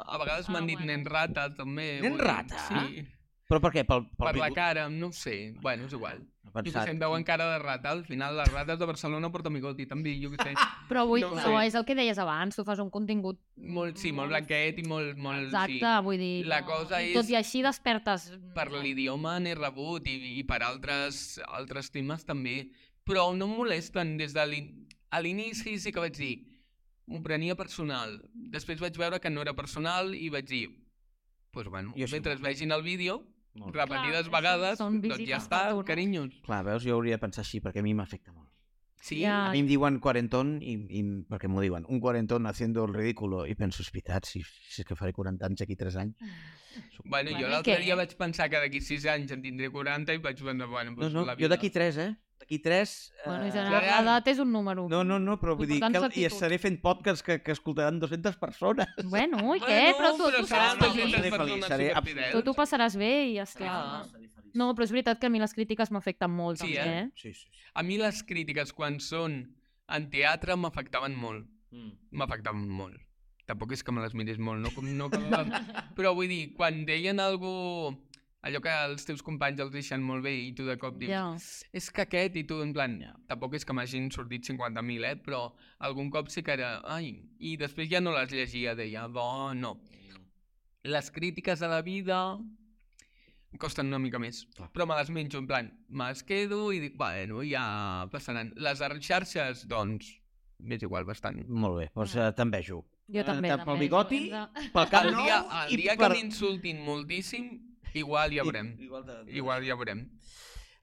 a vegades Ah, m'han dit bueno. nen rata, també. Nen vull dir, rata? Ah. Sí, Però per què? Pel, pel per la bigot? cara, no ho sé. Bueno, és igual. He Jo que sé, Pensat... em veuen cara de rata, al final les rates de Barcelona porten bigoti, també, jo que sé. Però avui, No no, ho no, sé. és el que deies abans, tu fas un contingut... Molt, sí, molt blanquet i molt... molt Exacte, Sí. vull dir... La no, cosa i és- Tot i així despertes... per l'idioma n'he rebut i, i per altres, altres temes també, però no em molesten des de l'in- a l'inici sí que vaig dir, m'ho prenia personal. Després vaig veure que no era personal i vaig dir, pues bueno, Jo jo sí. mentre vegin el vídeo, Molt bé. repetides Clar, vegades, són doncs ja visites està, per tu, no? carinyos. Clar, veus, jo hauria de pensar així, perquè a mi m'afecta molt. Sí, Ja. A mi em diuen quarenton, i, i perquè m'ho diuen, un quarenton haciendo el ridículo, i penso, és veritat, si, si és que faré 40 anys aquí 3 anys. Bueno, Bueno, jo i l'altre què? dia vaig pensar que d'aquí 6 anys en tindré 40 i vaig pensar, bueno, No, doncs no, la jo vida. d'aquí 3, eh? D'aquí 3... Bueno, és Eh, general. anar- Gerard. l'edat és un número. No, no, no, però vull dir Important que i l'actitud. estaré fent podcasts que, que escoltaran 200 persones. Bueno, i què? Però tu, tu seràs no, no, feliç. seré feliç, seré Tu t'ho passaràs bé i esclar... Ah. No, però és veritat que a mi les crítiques m'afecten molt, Sí, també, eh? Sí, sí. sí. A mi les crítiques quan són en teatre m'afectaven molt. Mm. M'afectaven molt. Tampoc és que me les mirés molt, no, com, no com... però vull dir, quan deien algú allò que els teus companys els deixen molt bé i tu de cop dius, Ja. és que aquest, i tu en plan, tampoc és que m'hagin sortit 50.000, eh? però algun cop sí que era, ai, i després ja no les llegia, deia, bo, no. Mm. Les crítiques a la vida em costen una mica més, Clar. però me les menjo, en plan, me les quedo i dic, bueno, ja passaran. Les ar- xarxes, doncs, m'és igual bastant. Molt bé, doncs Ah. eh, t'envejo. Jo Eh, també. tant pel també. bigoti, Depèn de- Pel cap El nou dia, el i dia per... que m'insultin moltíssim, igual ja veurem. Igual, de... Igual ja veurem.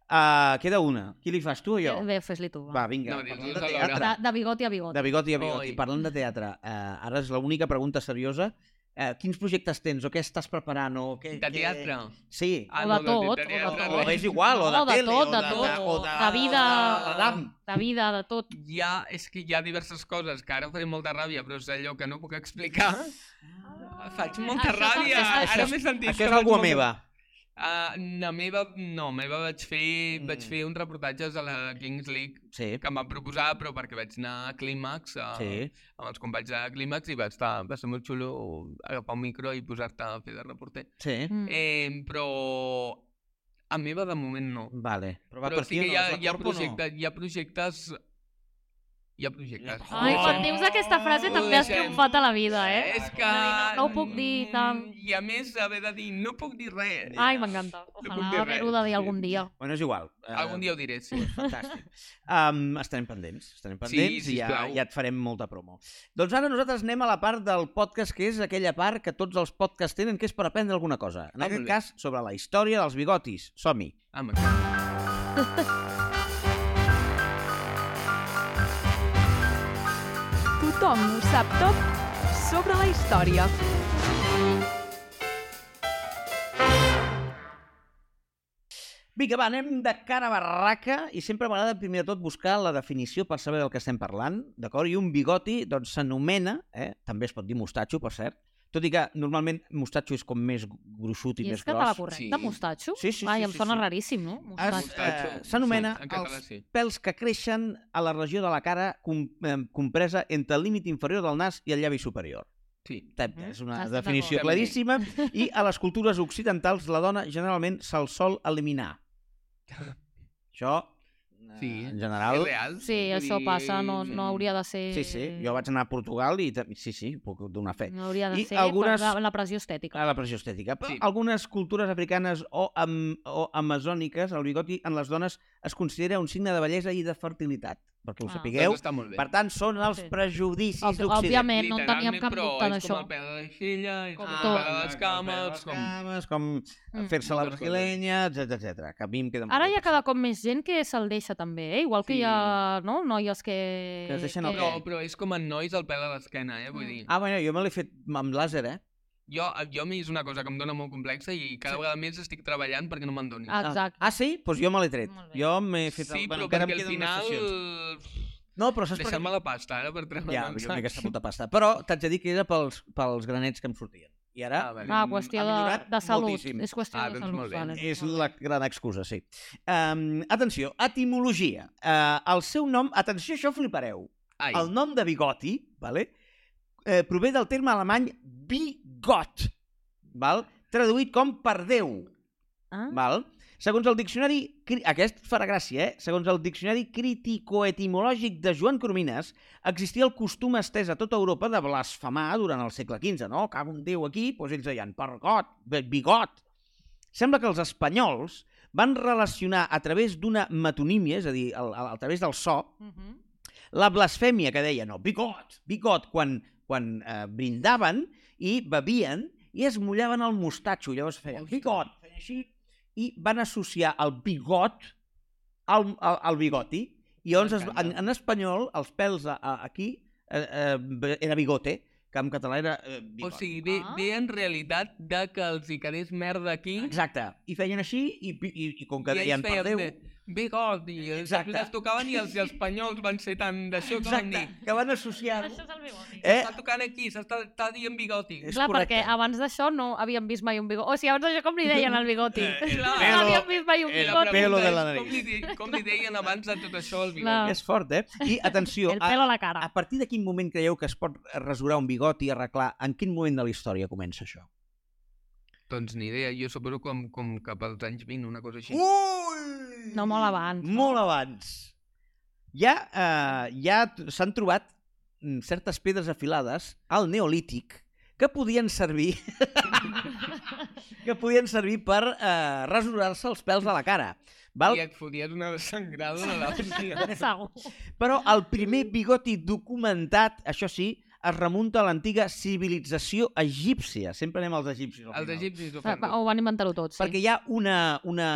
Uh, queda una. Qui li fas, tu o jo? Bé, fes-li tu. Va, vinga, No, no, parlant dius dos de alhora. teatre. De, de bigoti a bigoti. De bigoti a bigoti. Oi. Parlant de teatre, uh, ara és l'única pregunta seriosa. Uh, quins projectes tens o què estàs preparant? O què, De teatre. Què... Sí. Ah, Eh, O no, de tot, o de teatre, O tot. res. és igual, o de No, de tele, tot, o de de, tot, o de, de vida. O de, de dam. De vida, de tot. hi ha, és que hi ha diverses coses que ara faré molta ràbia, però és allò que no puc explicar. Ah, Faig molta això també- ràbia, això, això- ara m'he sentit. Això és que alguna faig molta- meva. Ah, la meva, no, meva vaig fer, mm. vaig Mm. fer un reportatge a la Kings League Sí, que em van proposar, però perquè vaig anar a Clímax, a, sí. amb els companys de Clímax, i va, estar, va ser molt xulo agafar un micro i posar-te a fer de reporter. Sí. Mm. Eh, però a meva de moment no. Vale. Però, va Però per sí aquí, no? que hi ha, És la hi ha, corpo o no? projectes, hi ha projectes... Hi ha projectes. Ai, quan dius aquesta frase Ho també has deixem. triomfat a la vida, eh? És que... No, mm, no ho puc dir tant. I a més, haver de dir, no puc dir res. Ai, m'encanta. puc dir Ojalà haver-ho res, de dir sí. algun dia. Bueno, és igual. Eh, Algun dia ho diré, sí. Fantàstic. Um, estarem pendents, estarem pendents i ja, sisplau. ja et farem molta promo. Doncs ara nosaltres anem a la part del podcast, que és aquella part que tots els podcasts tenen, que és per aprendre alguna cosa. En Ah, aquest molt bé. cas, sobre la història dels bigotis. Som-hi. Ah, m'encanta. Tothom ho sap tot sobre la història. Vinga, va, anem de cara a barraca i sempre m'agrada primer de tot buscar la definició per saber del que estem parlant, d'acord? I un bigoti, doncs, s'anomena, eh? també es pot dir mostatxo, per cert, tot i que normalment mostatxo és com més gruixut i, I més és català gros. correcte, Sí. mostatxo? Sí, sí, Ai, sí, em sí, sona sí. raríssim, no? Es- Mostatxo. eh, Mostatxo. S'anomena Sí, en català els sí. pèls que creixen a la regió de la cara com, eh, compresa entre el límit inferior del nas i el llavi superior. Sí. Tep, Mhm. És una Estic definició d'acord. claríssima. I a les cultures occidentals la dona generalment se'l sol eliminar. Això, eh, Sí. en És general... real. Sí, això Vull dir, mm. passa, no, no hauria de ser... Sí, sí, jo vaig anar a Portugal i... ta- Sí, sí, puc donar fe. No hauria de I ser algunes... algunes- per la, la pressió estètica. A la pressió estètica. Però Sí. algunes cultures africanes o, am o amazòniques, el bigoti en les dones es considera un signe de bellesa i de fertilitat, perquè ho Ah. sapigueu. Doncs està molt bé. Per tant, són els Sí. prejudicis Òbvi- d'Occident. Òbviament, no en teníem Literalment, cap però dubte és com d'això. el pèl de la xilla, és Com com el tot. pèl de les cames, com... cames, com Mm. fer-se la Moltes coses. brasileña, etc etc. que a mi em queda molt Ara hi ha bé. cada cop més gent que se'l deixa també, eh? igual que Sí. hi ha no? noies que... Que es deixen el No, però és com en nois el pèl a l'esquena, eh? Mm. Vull dir, Ah, bueno, jo me l'he fet amb làser, eh? jo, jo a mi és una cosa que em dóna molt complexa i cada vegada més estic treballant perquè no me'n doni. Ah, Exacte. Ah, sí? Doncs pues jo me l'he tret. Molt bé. Jo m'he fet... sí, però encara em perquè al queden unes final... sessions. No, però saps per Deixar-me què? la pasta, ara, per treure'm Ja, el li sac. aquesta puta pasta. Però t'haig de dir que era pels, pels granets que em sortien. I ara vale. Ah, Mm, qüestió ha de, millorat de salut. moltíssim. És qüestió Ah, de doncs salut. molt bé. vale. És la gran excusa, sí. Um, atenció, etimologia. Uh, el seu nom, atenció, això flipareu. Ai, El nom de bigoti, vale? eh, prové del terme alemany bigot, val? traduït com per Déu. Ah? Val? Segons el diccionari... cri- Aquest farà gràcia, eh? Segons el diccionari crítico-etimològic de Joan Coromines, existia el costum estès a tota Europa de blasfemar durant el segle XV, no? Cap un déu aquí, doncs ells deien pergot, bi- bigot. Sembla que els espanyols van relacionar a través d'una metonímia, és a dir, a, a, a través del so, Mhm. la blasfèmia que deien, no, bigot, bigot, quan, quan eh, brindaven i bevien i es mullaven el mostatxo, llavors feien Ostres. bigot, feien així, i van associar el bigot al, al, al bigoti, i llavors es, en, M'encanta. en espanyol els pèls a, a, aquí eh, eh, era bigote, que en català era eh, O bigot. sigui, ve, Ah. ve en realitat de que els hi quedés merda aquí Exacte. I feien així i, pi- i, i com que i deien ells per feien Déu... bé, bigot i els, Exacte. els eh, tocaven i els espanyols van ser tan d'això que van Exacte, dir que van associar... Això és el bigoti. Eh, està tocant aquí, s'està està dient bigoti. És Clar, correcte. perquè abans d'això no havíem vist mai un bigoti. O sigui, abans d'això com li deien el bigoti? el no pelo- havíem vist mai un bigoti. el Eh, La pelo- pregunta de és la Com nariz. li, de- com li deien abans de tot això el Clar. bigoti? És fort, eh? I atenció, El pelo a, a la cara. a partir de quin moment creieu que es pot rasurar un bigot i arreglar? En quin moment de la història comença això? Doncs ni idea, jo suposo com, com cap als anys 20, una cosa així. Ui! No, molt abans, no? Molt abans. Ja, eh, ja t- s'han trobat mm, certes pedres afilades al neolític que podien servir que podien servir per eh, rasurar-se els pèls a la cara. Val? I et foties una desangrada de la hòstia. Segur. Però el primer bigoti documentat, això sí, es remunta a l'antiga civilització egípcia. Sempre anem als egipcis. al Els final. egipcis ho Va, fan. va, Ho van inventar-ho tot, sí. Ah, Perquè hi ha una, una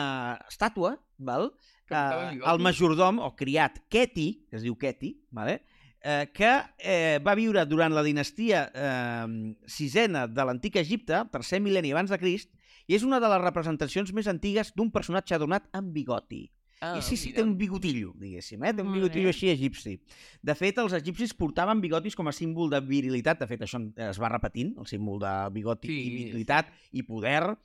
estàtua, val? Que portava Eh, bigoti. el majordom, o criat, Keti, que es diu Keti, vale? eh, que eh, va viure durant la dinastia eh, sisena de l'antic Egipte, tercer mil·lenni abans de Crist, i és una de les representacions més antigues d'un personatge adonat amb bigoti. Ah, I sí, sí, mira. té un bigotillo, diguéssim, eh? té un Molt bigotillo bé. així egipci. De fet, els egipcis portaven bigotis com a símbol de virilitat, de fet, això es va repetint, el símbol de bigoti sí. Sí. i virilitat i poder,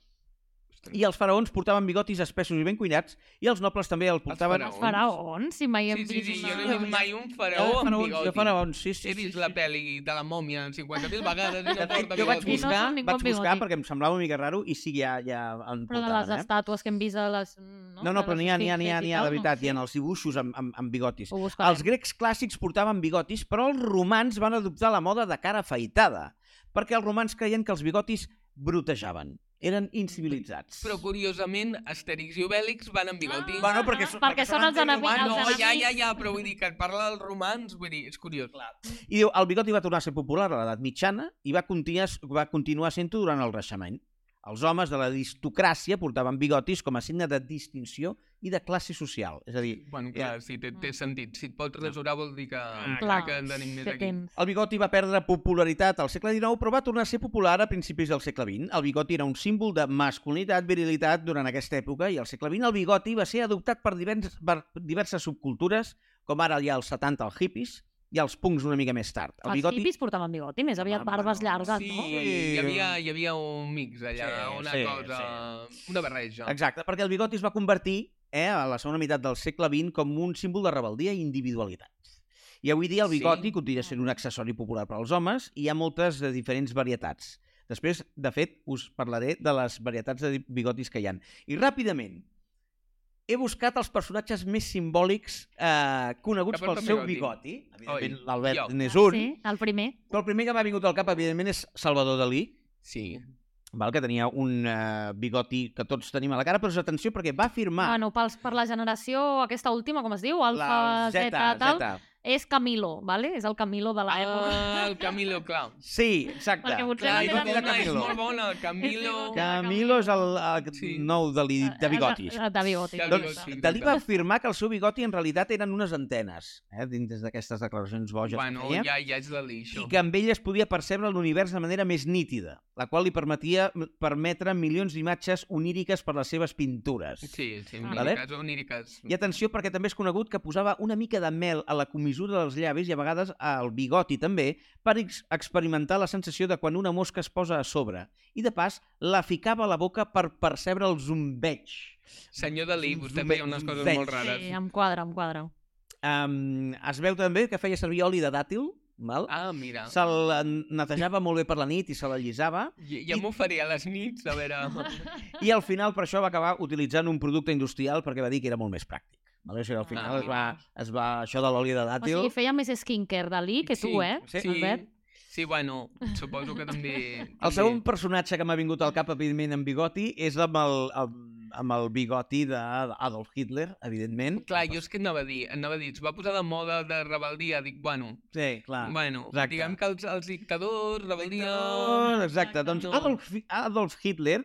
i els faraons portaven bigotis espessos i ben cuinats, i els nobles també el portaven... faraons. Els faraons, si mai hem Sí, sí, vist... sí, jo no una- he vist mai un faraó Eh, amb faraons, bigoti. de faraons, sí, sí. He sí, vist sí, la sí. pel·li de la mòmia 50.000 vegades i no De fet, porta jo vaig bigoti. buscar- no buscar, són ningú vaig amb buscar bigoti. perquè em semblava una mica raro i sí, ja, ja en Però de portaven, les eh? estàtues que hem vist a les... No, No, no, de però les n'hi ha, n'hi ha, n'hi ha, esfinxes i n'hi ha, tal, de veritat, no? i en els dibuixos amb, amb, amb bigotis. Ho buscarem. Els grecs clàssics portaven bigotis, però els romans van adoptar la moda de cara afaitada, perquè els romans creien que els bigotis brotejaven, eren incivilitzats. Però curiosament, Astèrix i Obèlix van amb bigoti. Ah, Bueno, perquè, ah, perquè són els enemics, antics Ah, no, romans. els ja, enemics. ja, ja, però vull dir que parla dels romans, vull dir, és curiós. Clar. I diu, el bigoti va tornar a ser popular a l'edat mitjana i va continuar, va continuar sent-ho durant el Renaixement. Els homes de l'aristocràcia portaven bigotis com a signe de distinció i de classe social. És a dir, Bueno, clar, si té, Ah. té sentit. Si et pots rasurar vol dir que, Ah, Clar, que en tenim més que aquí. tens. el bigoti va perdre popularitat al segle XIX, però va tornar a ser popular a principis del segle XX. El bigoti era un símbol de masculinitat, virilitat durant aquesta època, i al segle XX el bigoti va ser adoptat per, divers, per diverses subcultures, com ara ja als 70 els hippies i els punks una mica més tard. Els hippies portaven bigoti, més aviat Home, barbes no. llargues, Sí, no? hi havia, hi havia un mix allà, eh, Sí, una sí, cosa, una barreja. Exacte, perquè el bigoti es va convertir eh, a la segona meitat del segle XX com un símbol de rebel·lia i individualitat. I avui dia el Sí. bigoti sí. continua sent un accessori popular per als homes i hi ha moltes de diferents varietats. Després, de fet, us parlaré de les varietats de bigotis que hi han. I ràpidament, he buscat els personatges més simbòlics eh, coneguts Que porten pel seu bigoti. bigoti. Evidentment, Oi, jo. l'Albert n'és Ah, un. Sí, el primer. Però el primer que m'ha vingut al cap, evidentment, és Salvador Dalí, Sí. val, que tenia un eh, bigoti que tots tenim a la cara, però atenció, perquè va afirmar... Bueno, pels, per la generació, aquesta última, com es diu? Alfa, la Zeta, Zeta, tal. Zeta. És Camilo, vale? És el Camilo de l'època. Ah, el Camilo, clar. Sí, exacte. Perquè potser Clar, no i tenen tota era una és Camilo. molt bona, el Camilo... És igual. Camilo és el, el Sí. nou de, li, Eh, de bigotis. De, de bigotis. De Doncs bigoti, Dalí va exacte. afirmar que el seu bigoti en realitat eren unes antenes, eh, dins d'aquestes declaracions boges Bueno, que feia, ja, ja és la lixo. i que amb elles podia percebre l'univers de manera més nítida, la qual li permetia permetre milions d'imatges oníriques per les seves pintures. Sí, sí, Ah. oníriques, oníriques. I atenció, perquè també és conegut que posava una mica de mel a la comissura dels llavis i a vegades al bigoti també, per ex experimentar la sensació de quan una mosca es posa a sobre. I de pas, la ficava a la boca per percebre el zumbeig. Senyor Dalí, vostè Zumbe- feia unes coses zumbeig. molt rares. Sí, em quadra, em quadra. Um, es veu també que feia servir oli de dàtil, val? Ah, mira. Se'l netejava molt bé per la nit i se l'allisava. Ja, ja m'ho faré a les nits, a veure... I al final per això va acabar utilitzant un producte industrial perquè va dir que era molt més pràctic. Val? O sigui, al final es va, es va això de l'oli de Ah, O dàtil... sigui, feia més skincare Dalí que tu, eh, Sí, Albert? sí, bueno, suposo que també... El també- segon personatge que m'ha vingut al cap, evidentment, amb bigoti, és amb el, amb, amb el bigoti d'Adolf Hitler, evidentment. Clar, jo és que anava a dir, anava a dir, es va posar de moda de rebel·lia, dic, bueno, Sí, clar. ah, bueno, exacte. diguem que els, els dictadors, rebel·lia... Oh, exacte, doncs No. Adolf, Adolf Hitler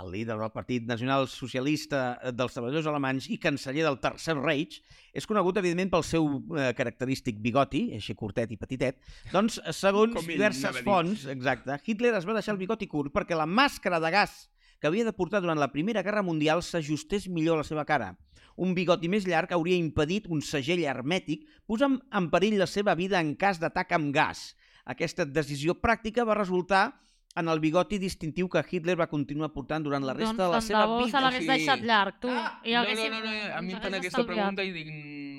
el líder del Partit Nacional Socialista eh, dels Treballadors Alemanys i canceller del Tercer Reich, és conegut, evidentment, pel seu eh, característic bigoti, així curtet i petitet, doncs, segons Com ell anava diverses a dir. fonts, exacte, Hitler es va deixar el bigoti curt perquè la màscara de gas que havia de portar durant la Primera Guerra Mundial s'ajustés millor a la seva cara. Un bigoti més llarg hauria impedit un segell hermètic posant en perill la seva vida en cas d'atac amb gas. Aquesta decisió pràctica va resultar en el bigoti distintiu que Hitler va continuar portant durant la resta de la doncs, seva tant de bo se vida. l'hagués sí. deixat llarg, tu. Ah, I No, no, haguéssim- no, no, a mi em ens hagués fan aquesta estalviat. pregunta i dic... mm,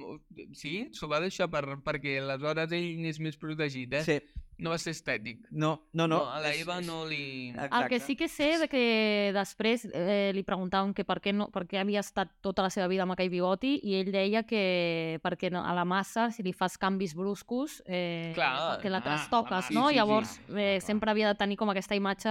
Sí? S'ho va deixar per, perquè aleshores ell n'és més protegit, eh? Sí. No va ser estètic. No, no, no. No, a la és- Eva és- no li... El que sí que sé de que després eh, li preguntaven que per què, no, per què havia estat tota la seva vida amb aquell bigoti i ell deia que perquè no, a la massa, si li fas canvis bruscos, eh, Clar, que la ah, la trastoques, massa, no? sí, sí, Llavors, sí. Ah, eh, clar. sempre havia de tenir com aquesta imatge...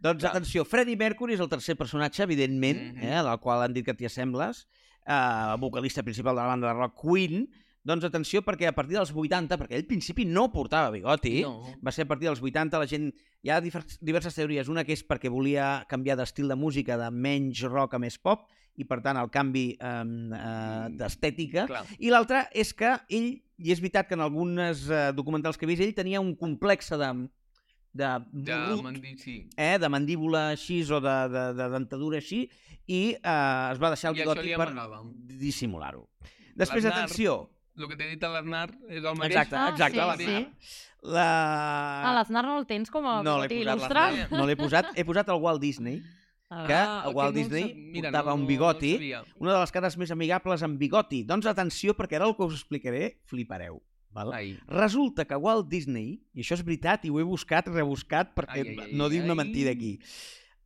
Doncs atenció, Freddie Mercury és el tercer personatge, evidentment, mm Mhm. -hmm. eh, del qual han dit que t'hi assembles, eh, vocalista principal de la banda de rock Queen. Doncs atenció, perquè a partir dels 80, perquè ell al principi no portava bigoti, no. No. va ser a partir dels 80, la gent... Hi ha difer- diverses teories. Una que és perquè volia canviar d'estil de música de menys rock a més pop, i per tant el canvi eh, eh, d'estètica Clar. i l'altra és que ell, i és veritat que en algunes eh, documentals que he vist, ell tenia un complex de, de, Ja morrut, m'han dit sí. eh, de mandíbula així o de, de, de dentadura així, i eh, es va deixar el I això bigoti li per amagava. dissimular-ho. Després, L'Aznar. atenció, El que t'he dit a l'Arnar és el mateix. exacte, Ah, exacte, sí, la, sí. la... Ah, l'Aznar no el tens com a no l'he bigoti posat, il·lustre? l'Aznar. no l'he posat, he posat el Walt Disney, Ah, que Eh? Ah, a Walt que no ho Disney sab- Mira, portava no, un no- bigoti, No sabia. una de les cares més amigables amb bigoti. Doncs atenció, perquè ara el que us explicaré flipareu. Val? Ai, Resulta que Walt Disney, i això és veritat i ho he buscat, rebuscat, perquè Ai, ai, ai, no diu una ai. mentida aquí,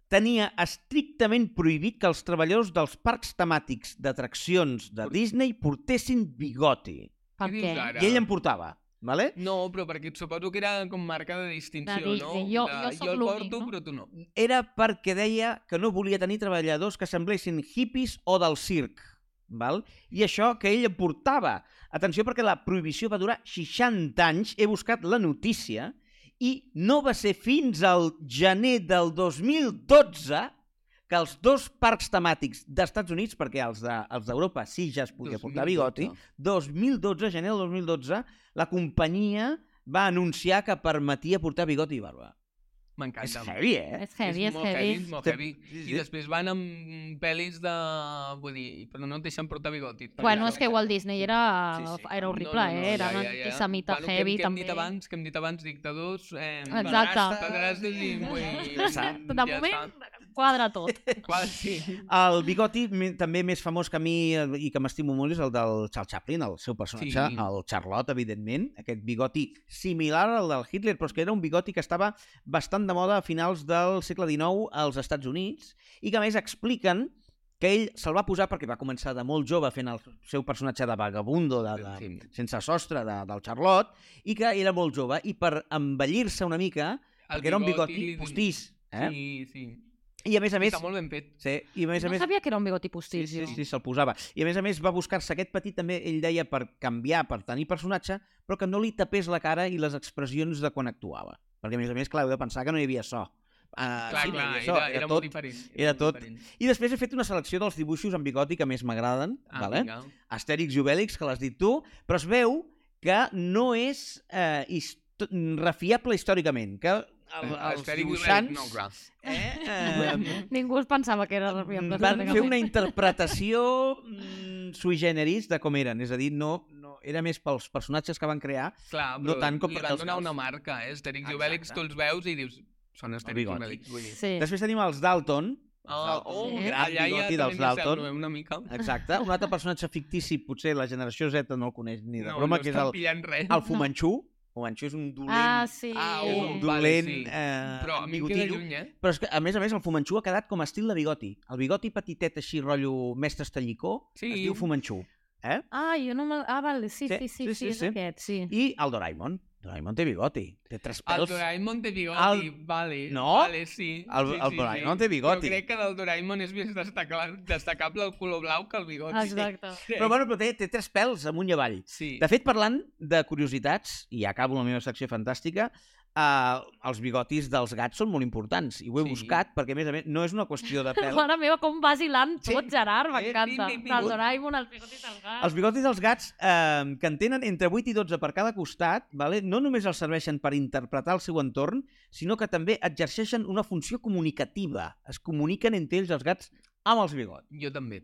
tenia estrictament prohibit que els treballadors dels parcs temàtics d'atraccions de Por- Disney portessin bigoti. Per dius què? ara? I ell en portava, vale? No, però perquè suposo que era com marca de distinció, De no? Disney. Jo- De, jo sóc el l'únic, porto, no? però tu no. Era perquè deia que no volia tenir treballadors que semblessin hippies o del circ. Val? I això que ell en portava. Atenció, perquè la prohibició va durar 60 anys, he buscat la notícia, i no va ser fins al gener del 2012 que els dos parcs temàtics d'Estats Units, perquè els de- els d'Europa sí ja es podia portar bigoti, 2012, gener del 2012, la companyia va anunciar que permetia portar bigoti i barba. És M'encanta. heavy, eh? És heavy, és molt heavy. és molt Sí, heavy. sí, sí. I després van amb pel·lis de... Vull dir, però no et deixen portar bigoti. Bueno, és que Walt Disney era, Sí, sí. era horrible, eh? Era un antisemita heavy, que, hem també. dit abans, que hem dit abans, dictadors... Eh, Exacte. Pedrastes i... Vull, dir, Ja està. De moment, quadra tot. està. Quasi. El bigoti mi- també més famós que a mi eh, i que m'estimo molt és el del Charles Chaplin, el seu personatge, Sí. sí. el Charlotte, evidentment. Aquest bigoti similar al del Hitler, però és que era un bigoti que estava bastant de moda a finals del segle XIX als Estats Units i que a més expliquen que ell se'l va posar perquè va començar de molt jove fent el seu personatge de vagabundo, de, de, Sí. sense sostre, de, del Charlotte, i que era molt jove i per embellir-se una mica, El perquè era un bigoti li- postís. Eh? Sí, sí. I a més a més... Està molt ben fet. Sí, i a més a No més... sabia que era un bigoti postís, Sí, jo. sí, se'l posava. I a més a més va buscar-se aquest petit també, ell deia, per canviar, per tenir personatge, però que no li tapés la cara i les expressions de quan actuava. Perquè a més a més, clar, heu de pensar que no hi havia so. Uh, Clar, clar, hi havia era, era, tot. molt diferent. era molt tot. diferent. I després he fet una selecció dels dibuixos amb bigoti que més m'agraden, Ah, vale? vinga. Astèrix i Obèlix, que l'has dit tu, però es veu que no és eh, histo- refiable històricament, que el, Eh, els Asterix i Obelix, dibuixants No, clar. eh, eh, Ningú es pensava que era Mm, refiable. van fer una interpretació mm, sui generis de com eren, és a dir, no, no era més pels personatges que van crear. Clar, No però tant com li perquè van els donar caus. una marca, eh? Asterix i Exacte. Obelix, tu els veus i dius... Són Asterix i bigoti. Obelix. vull dir. Sí. Després tenim els Dalton, Ah, oh, Sí. Gran allà ja bigoti dels també ens Dalton. salvem una mica. exacte, un altre personatge fictici, potser la generació Z no el coneix ni de No, broma, no que és estan el, pillant res. el Fumanxú. Fumanxú és un dolent, Ah, sí. Ah, és oh, un vale, dolent sí. eh, Però a mi em queda bigotillo. lluny, eh? Però és que, a més a més, el Fumanxú ha quedat com a estil de bigoti. El bigoti petitet així, rotllo mestre estallicó, Sí. es diu Fumanxú. Eh? Ah, jo no me... Ah, vale, sí, sí, sí, sí, sí, sí, és sí. aquest, sí. I el Doraemon. Doraemon té bigoti. Té tres El pèls. Doraemon té bigoti, El- vale. No? Vale, sí. El- sí, el sí, Doraemon sí. té bigoti. Jo crec que del Doraemon és més destacable, destacable el color blau que el bigoti. Exacte. Crec. Però bueno, però té, té tres pèls amunt i avall. Sí. De fet, parlant de curiositats, i acabo la meva secció fantàstica, eh, els bigotis dels gats són molt importants i ho he Sí. buscat perquè, a més a més, no és una qüestió de pèl. Mare meva, com vas hilant Sí. Eh, tot, Gerard, m'encanta. pim, pim, pim. Del Doraemon, els bigotis del gat. Els bigotis dels gats, eh, que en tenen entre 8 i 12 per cada costat, vale? no només els serveixen per interpretar el seu entorn, sinó que també exerceixen una funció comunicativa. Es comuniquen entre ells els gats amb els bigots. Jo també.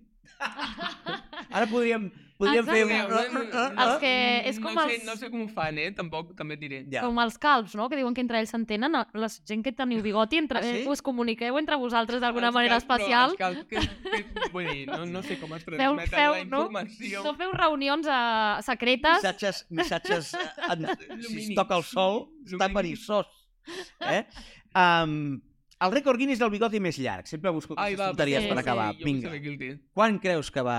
Ara podríem, podríem fer... no, Els que és com no els- Sé, no sé com ho fan, eh? Tampoc, també et diré. Ja. Com els calbs, no? Que diuen que entre ells s'entenen. La gent que teniu bigoti, entre... eh, Ah, sí? Ah, us comuniqueu entre vosaltres d'alguna Els manera cal- però especial. els cal- que, que, vull dir, no, no sé com es Feu, transmeten feu, la no? informació. No feu reunions eh, secretes. Missatges, missatges eh, en, si es Lumínics. toca el sol, està Lumínics. perissós. Eh? Um, el rècord Guinness del bigoti més llarg. Sempre busco Ai, aquestes va, tonteries sí, per sí, acabar. jo vull Vinga. saber qui el té. Quan creus que va...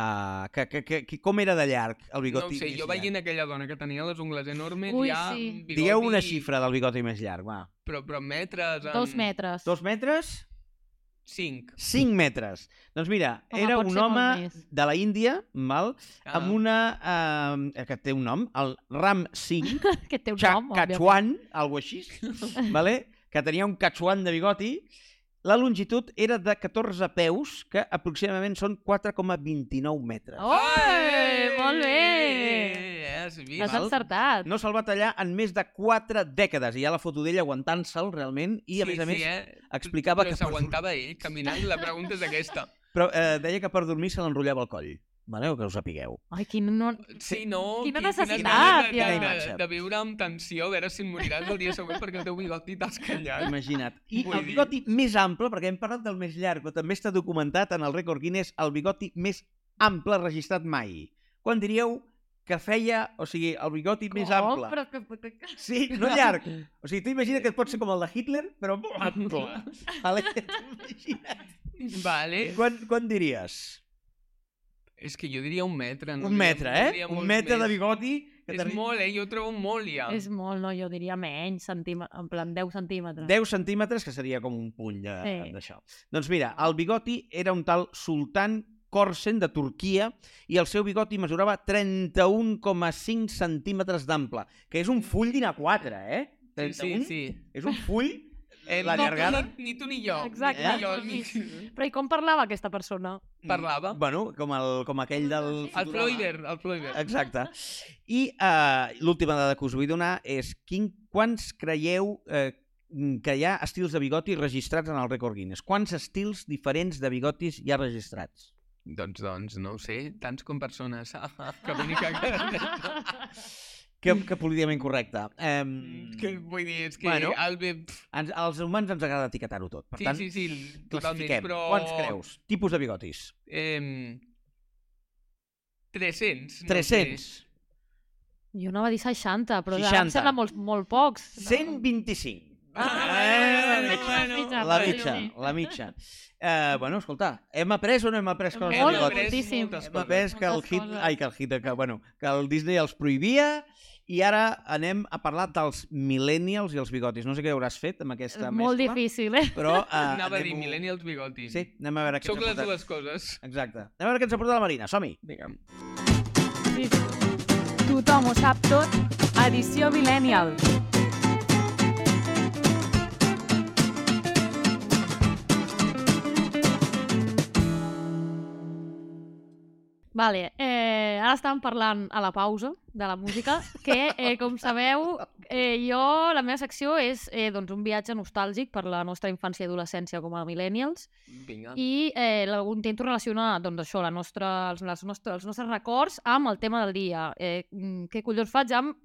Que, que, que, que, com era de llarg el No bigoti ho sé, més jo llarg? veient aquella dona que tenia les ungles enormes, Ui, ja... sí. bigoti, Digueu una xifra del bigoti més llarg, va. Però, però metres... En... Dos metres. Dos metres? Cinc. Cinc metres. Doncs mira, Home, era pot un ser molt home més. de la Índia, mal, Ah, amb una... Eh, que té un nom, el Ram Singh, Que té un Cha nom, òbviament. Cachuan, algo així, vale? que tenia un cachuan de bigoti, la longitud era de 14 peus, que aproximadament són 4,29 metres. Oh, molt bé! Eh, Has vist? L'has val. encertat. No se'l va tallar en més de 4 dècades, i hi ha la foto d'ell aguantant-se'l realment, i a més a més eh? explicava però que... per s'aguantava ell caminant, la pregunta és aquesta. Però eh, deia que per dormir se l'enrotllava al coll. Vale? O que us sapigueu. Ai, quin no... Sí, no? Quina qui- necessitat, ja. ganes de- de- Quina de, imatge. de, viure amb tensió, a veure si et moriràs el dia següent perquè el teu bigoti t'has callat. Imagina't. I el Vull dir- bigoti més ample, perquè hem parlat del més llarg, però també està documentat en el rècord Guinness el bigoti més ample registrat mai. Quan diríeu que feia, o sigui, el bigoti més Oh, ample. però que- que- que- Sí, no llarg. O sigui, tu imagina que pot ser com el de Hitler, però molt Ah, ample. Vale? Imagina't. Vale. Quan, quan diries? És que jo diria un metre. No Un diria- metre, no eh? diria Un molt metre més. de bigoti. Que És t'arri- molt, eh? Jo ho trobo molt, Ah. ja. És molt, no? Jo diria menys, centímetres, en plan 10 centímetres. 10 centímetres, que seria com un puny de- Sí. d'això. Doncs mira, el bigoti era un tal sultan Korsen de Turquia i el seu bigoti mesurava 31,5 centímetres d'ample, que és un full d'INA4, eh? Sí, 31? sí, sí. És un full... Eh, La no, llargada. No, ni tu ni jo. Exacte. Ni jo, ni... Però i com parlava aquesta persona? Parlava. Bueno, com, el, com aquell del... El Floider, el Floider. Exacte. I eh, l'última dada que us vull donar és quin, quants creieu eh, que hi ha estils de bigoti registrats en el Record Guinness? Quants estils diferents de bigotis hi ha registrats? Doncs, doncs, no ho sé, tants com persones. Ah, ah, que bonica que... Que, que políticament correcte. Um, Mm, que vull dir, és que Bueno. bueno. el... bé- ens, als humans ens agrada etiquetar-ho tot. Per Sí, tant, sí, sí, totalment, classifiquem. però... Quants creus? Tipus de bigotis? Eh, 300. No 300. Sé. Jo anava a dir 60, però 60. em 60. sembla molt, molt pocs. 125. Ah, Eh, bueno, bueno, bueno. La mitja, la mitja. Eh, bueno, escolta, hem après o no hem après coses de Molt, bigotis? moltíssim. moltes Hem après eh, que el Moltes hit, coses. ai, que el hit, que, bueno, que el Disney els prohibia i ara anem a parlar dels millennials i els bigotis. No sé què hauràs fet amb És aquesta Molt mescla, difícil, eh? però... Uh, Anava a dir millennials bigotis. Sí, anem a veure què Sóc ens ha les portat. dues coses. Exacte. Anem a veure què ens aporta la Marina, som-hi. Digue'm. Sí. Tothom ho sap tot. Edició Millennial. Vale, eh, ara estàvem parlant a la pausa de la música, que, eh, com sabeu, eh, jo, la meva secció és eh, doncs un viatge nostàlgic per la nostra infància i adolescència com a millennials, Vinga. i eh, la- ho intento relacionar, doncs, això, la nostra, els, les nostres, els nostres records amb el tema del dia. Eh, mm, què collons faig amb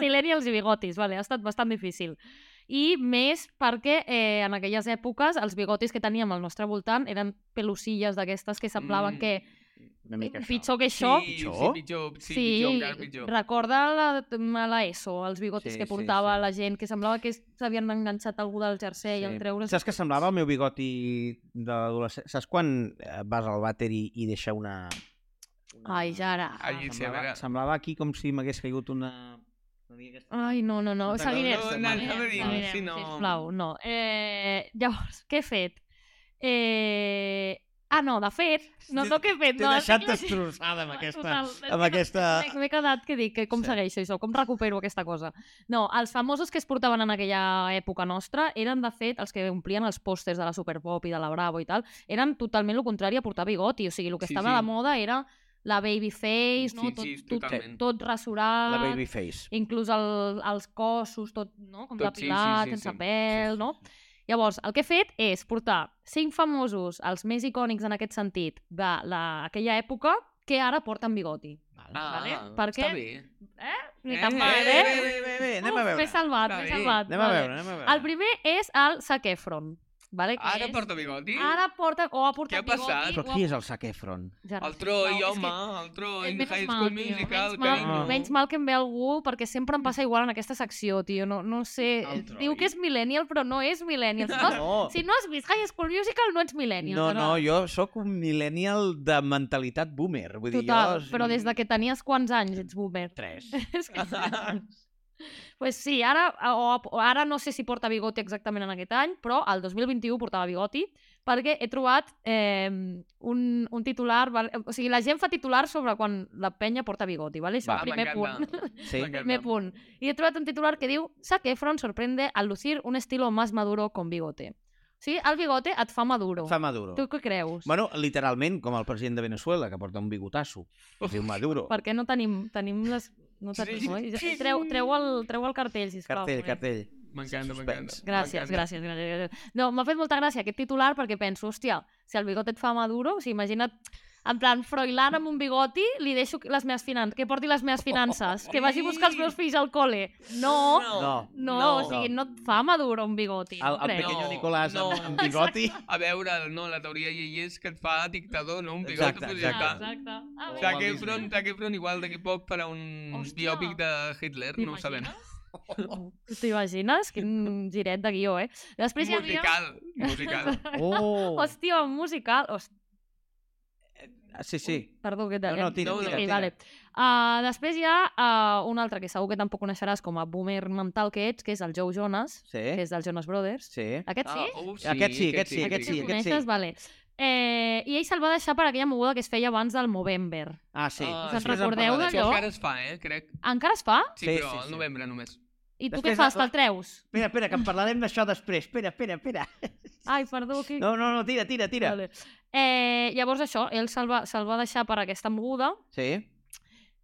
millennials i bigotis? Vale, ha estat bastant difícil. I més perquè eh, en aquelles èpoques els bigotis que teníem al nostre voltant eren pelucilles d'aquestes que semblaven Mm. mm. que Una mica això. pitjor que això. Sí, Pitjor? sí, pitjor, Sí, sí, pitjor, encara pitjor. recorda la, a la ESO, els bigotis sí, Sí, que sí, portava sí. sí, la gent, que semblava que s'havien enganxat algú del jersei sí. al treure's. Saps que semblava el meu bigoti d'adolescent? Saps quan eh, vas al vàter i, i deixa una... una... Ai, Jara. Ai, sí, a semblava, veure. semblava aquí com si m'hagués caigut una... una mica aquesta- Ai, no, no, no, No, seguirem. no, no, seguirem, anava a dir, seguirem, si no- Sisplau, no. Eh, llavors, què he fet? Eh, ah, no, de fet, no sé què he fet. T'he no, deixat arreglo així. destrossada amb aquesta... Total, és Amb que aquesta... M'he- M'he quedat que dic, que com Sí. sí. segueixo això, com recupero aquesta cosa. No, els famosos que es portaven en aquella època nostra eren, de fet, els que omplien els pòsters de la Superpop i de la Bravo i tal, eren totalment el contrari a portar bigoti, o sigui, el que Sí, sí, estava sí. sí. de moda era la baby face, no? Sí, tot, sí, tot, totalment. tot La rasurat, babyface. inclús el, els cossos, tot, no? com Tot, tot, sí, sí, depilat, sí, sí, sí, sense sí. sí. pèl, no? Llavors, el que he fet és portar cinc famosos, els més icònics en aquest sentit, d'aquella època, que ara porten bigoti. Ah, Vale, està perquè- bé. Ni Eh, tan eh, mal, eh, eh? eh, eh, eh, Bé, anem a Uf, veure. M'he salvat, Està m'he bé. salvat. Anem a vale. veure, anem a veure. El primer és el Zac Efron. Vale, que Ara és... porta bigoti? Ara porta... O ha portat Què ha passat? bigoti, Però o ha- qui és el Zac Efron? Ja no El sé, troi, sisplau, és home, que- el troi, és High Menys mal, School tio, Musical, menys mal, carinyo. menys mal que em ve algú, perquè sempre em passa igual en aquesta secció, tio. No, no sé, El Troi. diu que és millennial, però no és millennial. Si no, No, si no has vist High School Musical, no ets millennial. no, però- no, jo sóc un millennial de mentalitat boomer. Vull dir, Total, jo... però des de que tenies quants anys ets boomer? Tres. És que... pues sí, ara, o, o ara no sé si porta bigoti exactament en aquest any, però el 2021 portava bigoti, perquè he trobat eh, un, un titular... Val... O sigui, la gent fa titular sobre quan la penya porta bigoti, vale? Això, Va. el primer punt. Sí. Primer punt. I he trobat un titular que diu Zac Efron sorprende al lucir un estilo más maduro con bigote. O sigui, el bigote et fa maduro. Fa Maduro. Tu què creus? Bueno, literalment, com el president de Venezuela, que porta un bigotasso. Es diu Maduro. Per què no tenim, tenim les... No Sí, tenim, sí. oi? Ja- Treu, treu, el, treu el cartell, sisplau. Cartell, ponent. cartell. M'encanta, m'encanta. Suspens. Gràcies, M'encanta. gràcies, gràcies, gràcies. No, m'ha fet molta gràcia aquest titular perquè penso, hòstia, si el bigot et fa maduro, o sigui, imagina't, en plan, Froilán amb un bigoti, li deixo les meves finances, que porti les meves finances, que vagi a buscar els meus fills al col·le. No, no, No. o sigui, no et fa maduro un bigoti. El, el crec. pequeño No, Nicolás no. amb, amb bigoti. A veure, no, la teoria hi és que et fa dictador, no? Un bigot Exacte, projectat. Ah, exacte. exacte. Ah, O bé. Zac Walt Disney. Efron, Zac Efron igual d'aquí a poc farà un Hòstia. biòpic de Hitler, no ho sabem. T'imagines? T'imagines? Quin giret de guió, eh? Després hi havia... Musical, musical. Oh! Hòstia, un musical. Hòstia, Ah, Sí, sí. Perdó, que No, no, tira, No, no, Sí, tira, tira. vale. Uh, després hi ha uh, un altre que segur que tampoc coneixeràs com a boomer mental que ets, que és el Joe Jonas, que Sí, és dels Jonas Brothers. Eh? Ah, sí. Aquest sí? oh, Aquest sí, aquest sí, Aquest sí, el aquest coneixes? Vale. Eh, I ell se'l va deixar per aquella moguda que es feia abans del Movember. Ah, sí. Ah, Us en Després en recordeu parlarem. Això d'allò? encara es fa, eh, crec. Encara es fa? Sí, Sí, però sí, sí. al novembre només. I tu Després què fas? la- Te'l treus? Espera, espera, que en parlarem d'això després. Espera, espera, espera. Ai, perdó. Que... No, no, no, tira, tira, tira. Vale. Eh, llavors això, ell se'l va, se'l va deixar per aquesta moguda Sí.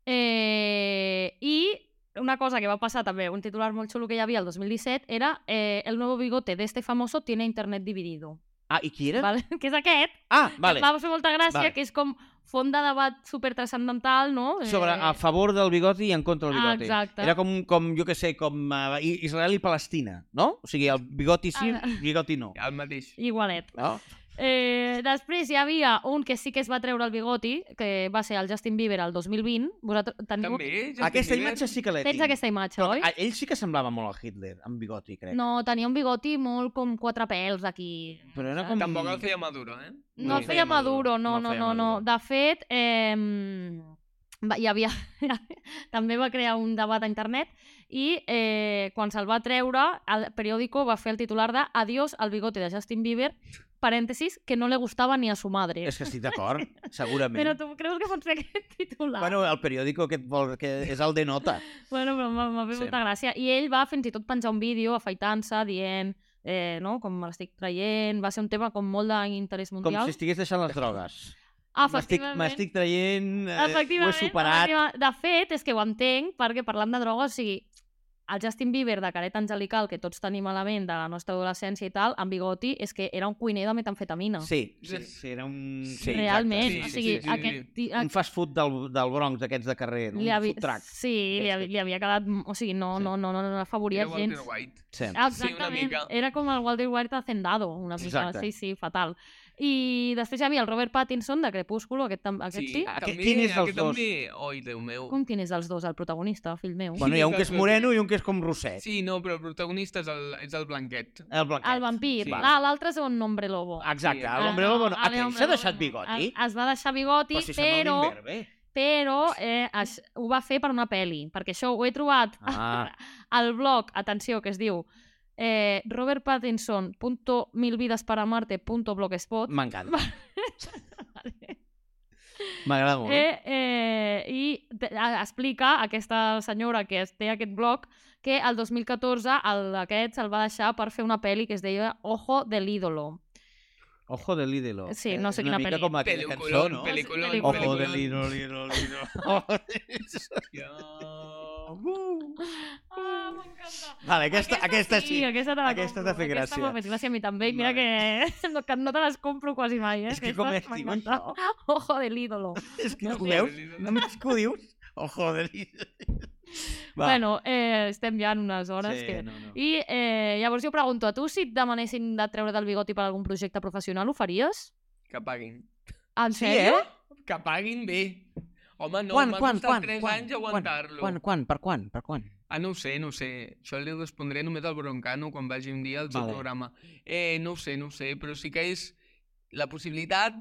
Eh, I una cosa que va passar també, un titular molt xulo que hi havia el 2017, era eh, el nuevo bigote de este famoso tiene internet dividido. Ah, i qui era? Vale? Que és aquest. Ah, vale. Va fer molta gràcia, Vale. que és com font de debat super transcendental, no? Eh, Sobre, a favor del bigoti i en contra del Ah, bigoti. exacte. Era com, com jo que sé, com uh, Israel i Palestina, no? O sigui, el bigoti sí, Ah. el bigoti no. El mateix. Igualet. No? Eh, després hi havia un que sí que es va treure el bigoti, que va ser el Justin Bieber el 2020. Vosaltres teniu... També, Justin Aquesta Bieber. imatge sí que l'he Tens tinc. aquesta imatge, Però oi? a- ell sí que semblava molt a Hitler, amb bigoti, crec. No, tenia un bigoti molt com quatre pèls aquí. Però era com... Ah. Tampoc el feia Maduro, eh? No el feia Maduro, no, no, feia no, no. Maduro. De fet, eh, va, hi havia... també va crear un debat a internet i eh, quan se'l va treure, el periòdico va fer el titular de Adiós al bigote de Justin Bieber, parèntesis, que no le gustava ni a su madre. És que estic d'acord, segurament. Però tu creus que pots fer aquest titular? Bueno, el periòdico aquest vol, que és el de nota. Bueno, però m'ha m'ha fet Sí. sí. molta gràcia. I ell va fins i tot penjar un vídeo afaitant-se, dient eh, no, com me l'estic traient. Va ser un tema com molt d'interès Com mundial. si estigués deixant les drogues. M'estic Efectivament. m'estic traient, eh, ho he Efectivament. superat. efectiva- De fet, és que ho entenc, perquè parlant de droga, o sigui, el Justin Bieber de careta angelical, que tots tenim a la ment de la nostra adolescència i tal, amb bigoti, és que era un cuiner de metamfetamina. Sí, sí, sí, era un... Sí, exacte. Realment. Sí, o sí, sigui, sí, sí, aquest... sí. ti- un fast food del, del Bronx, d'aquests de carrer, un li havi- food truck. Sí, li, havi- li havia quedat... O sigui, no, Sí. no, no, no, no l'afavoria Era gens. Walter White. Sí. Ah. Sí, una Exactament, mica. era com el Walter White hacendado, una mica, Exacte. sí, sí, fatal. I després hi havia el Robert Pattinson de Crepúsculo, aquest, tam- aquest sí. Aquest- també, quin és dels aquest dos? També... Oi, Déu meu. Com quin és dels dos, el protagonista, fill meu? Bueno, hi ha un que és moreno i un que és com rosset. Sí, no, però el protagonista és el, és el blanquet. El blanquet. El vampir. Sí. Sí. Ah, l'altre és un hombre lobo. Exacte, Sí. el hombre Ah, lobo. No. ah, Aquell l'hombre s'ha lobo deixat no. bigoti. Es, es va deixar bigoti, Però si però, semblava un imberbe. però eh, es, ho va fer per una peli, perquè això ho he trobat Ah, al blog, atenció, que es diu eh, robertpattinson.milvidesparamarte.blogspot m'encanta. M'agrada molt. Eh? Eh, eh, I te- a- explica aquesta senyora que es- té aquest blog que el 2014 el, aquest se'l va deixar per fer una pel·li que es deia Ojo de l'ídolo. Ojo de l'ídolo. Sí, no sé quina una mica peli. com aquella cançó, Peliculón, no? peliculón, Ojo Ojo peliculón. de l'ídolo, l'ídolo, l'ídolo. Ah, m'encanta! Vale, aquesta, aquesta sí. aquesta te la Aquesta t'ha compro. fet gràcia. Aquesta m'ha fet gràcia a mi també. i Mira que no, que no te les compro quasi mai, eh? És que com Aquestes es diu m'encanta. Ojo de l'ídolo. És que ho sí, veus? sí, sí. Només que ho dius? Ojo de l'ídolo. Va. Bueno, eh, estem ja en unes hores sí, que... no, no. I eh, llavors jo pregunto a tu si et demanessin de treure del bigoti per algun projecte professional, ho faries? Que paguin. En Sí, sèrio? eh? Que paguin bé. Home, no, quan, m'ha quan, costat quan? 3 quan, anys aguantar-lo. Quan, quan, per quan, per quan? Ah, no ho sé, no ho sé. Això li respondré només al Broncano quan vagi un dia al seu Vale. programa. Eh, no ho sé, no ho sé, però sí que és... La possibilitat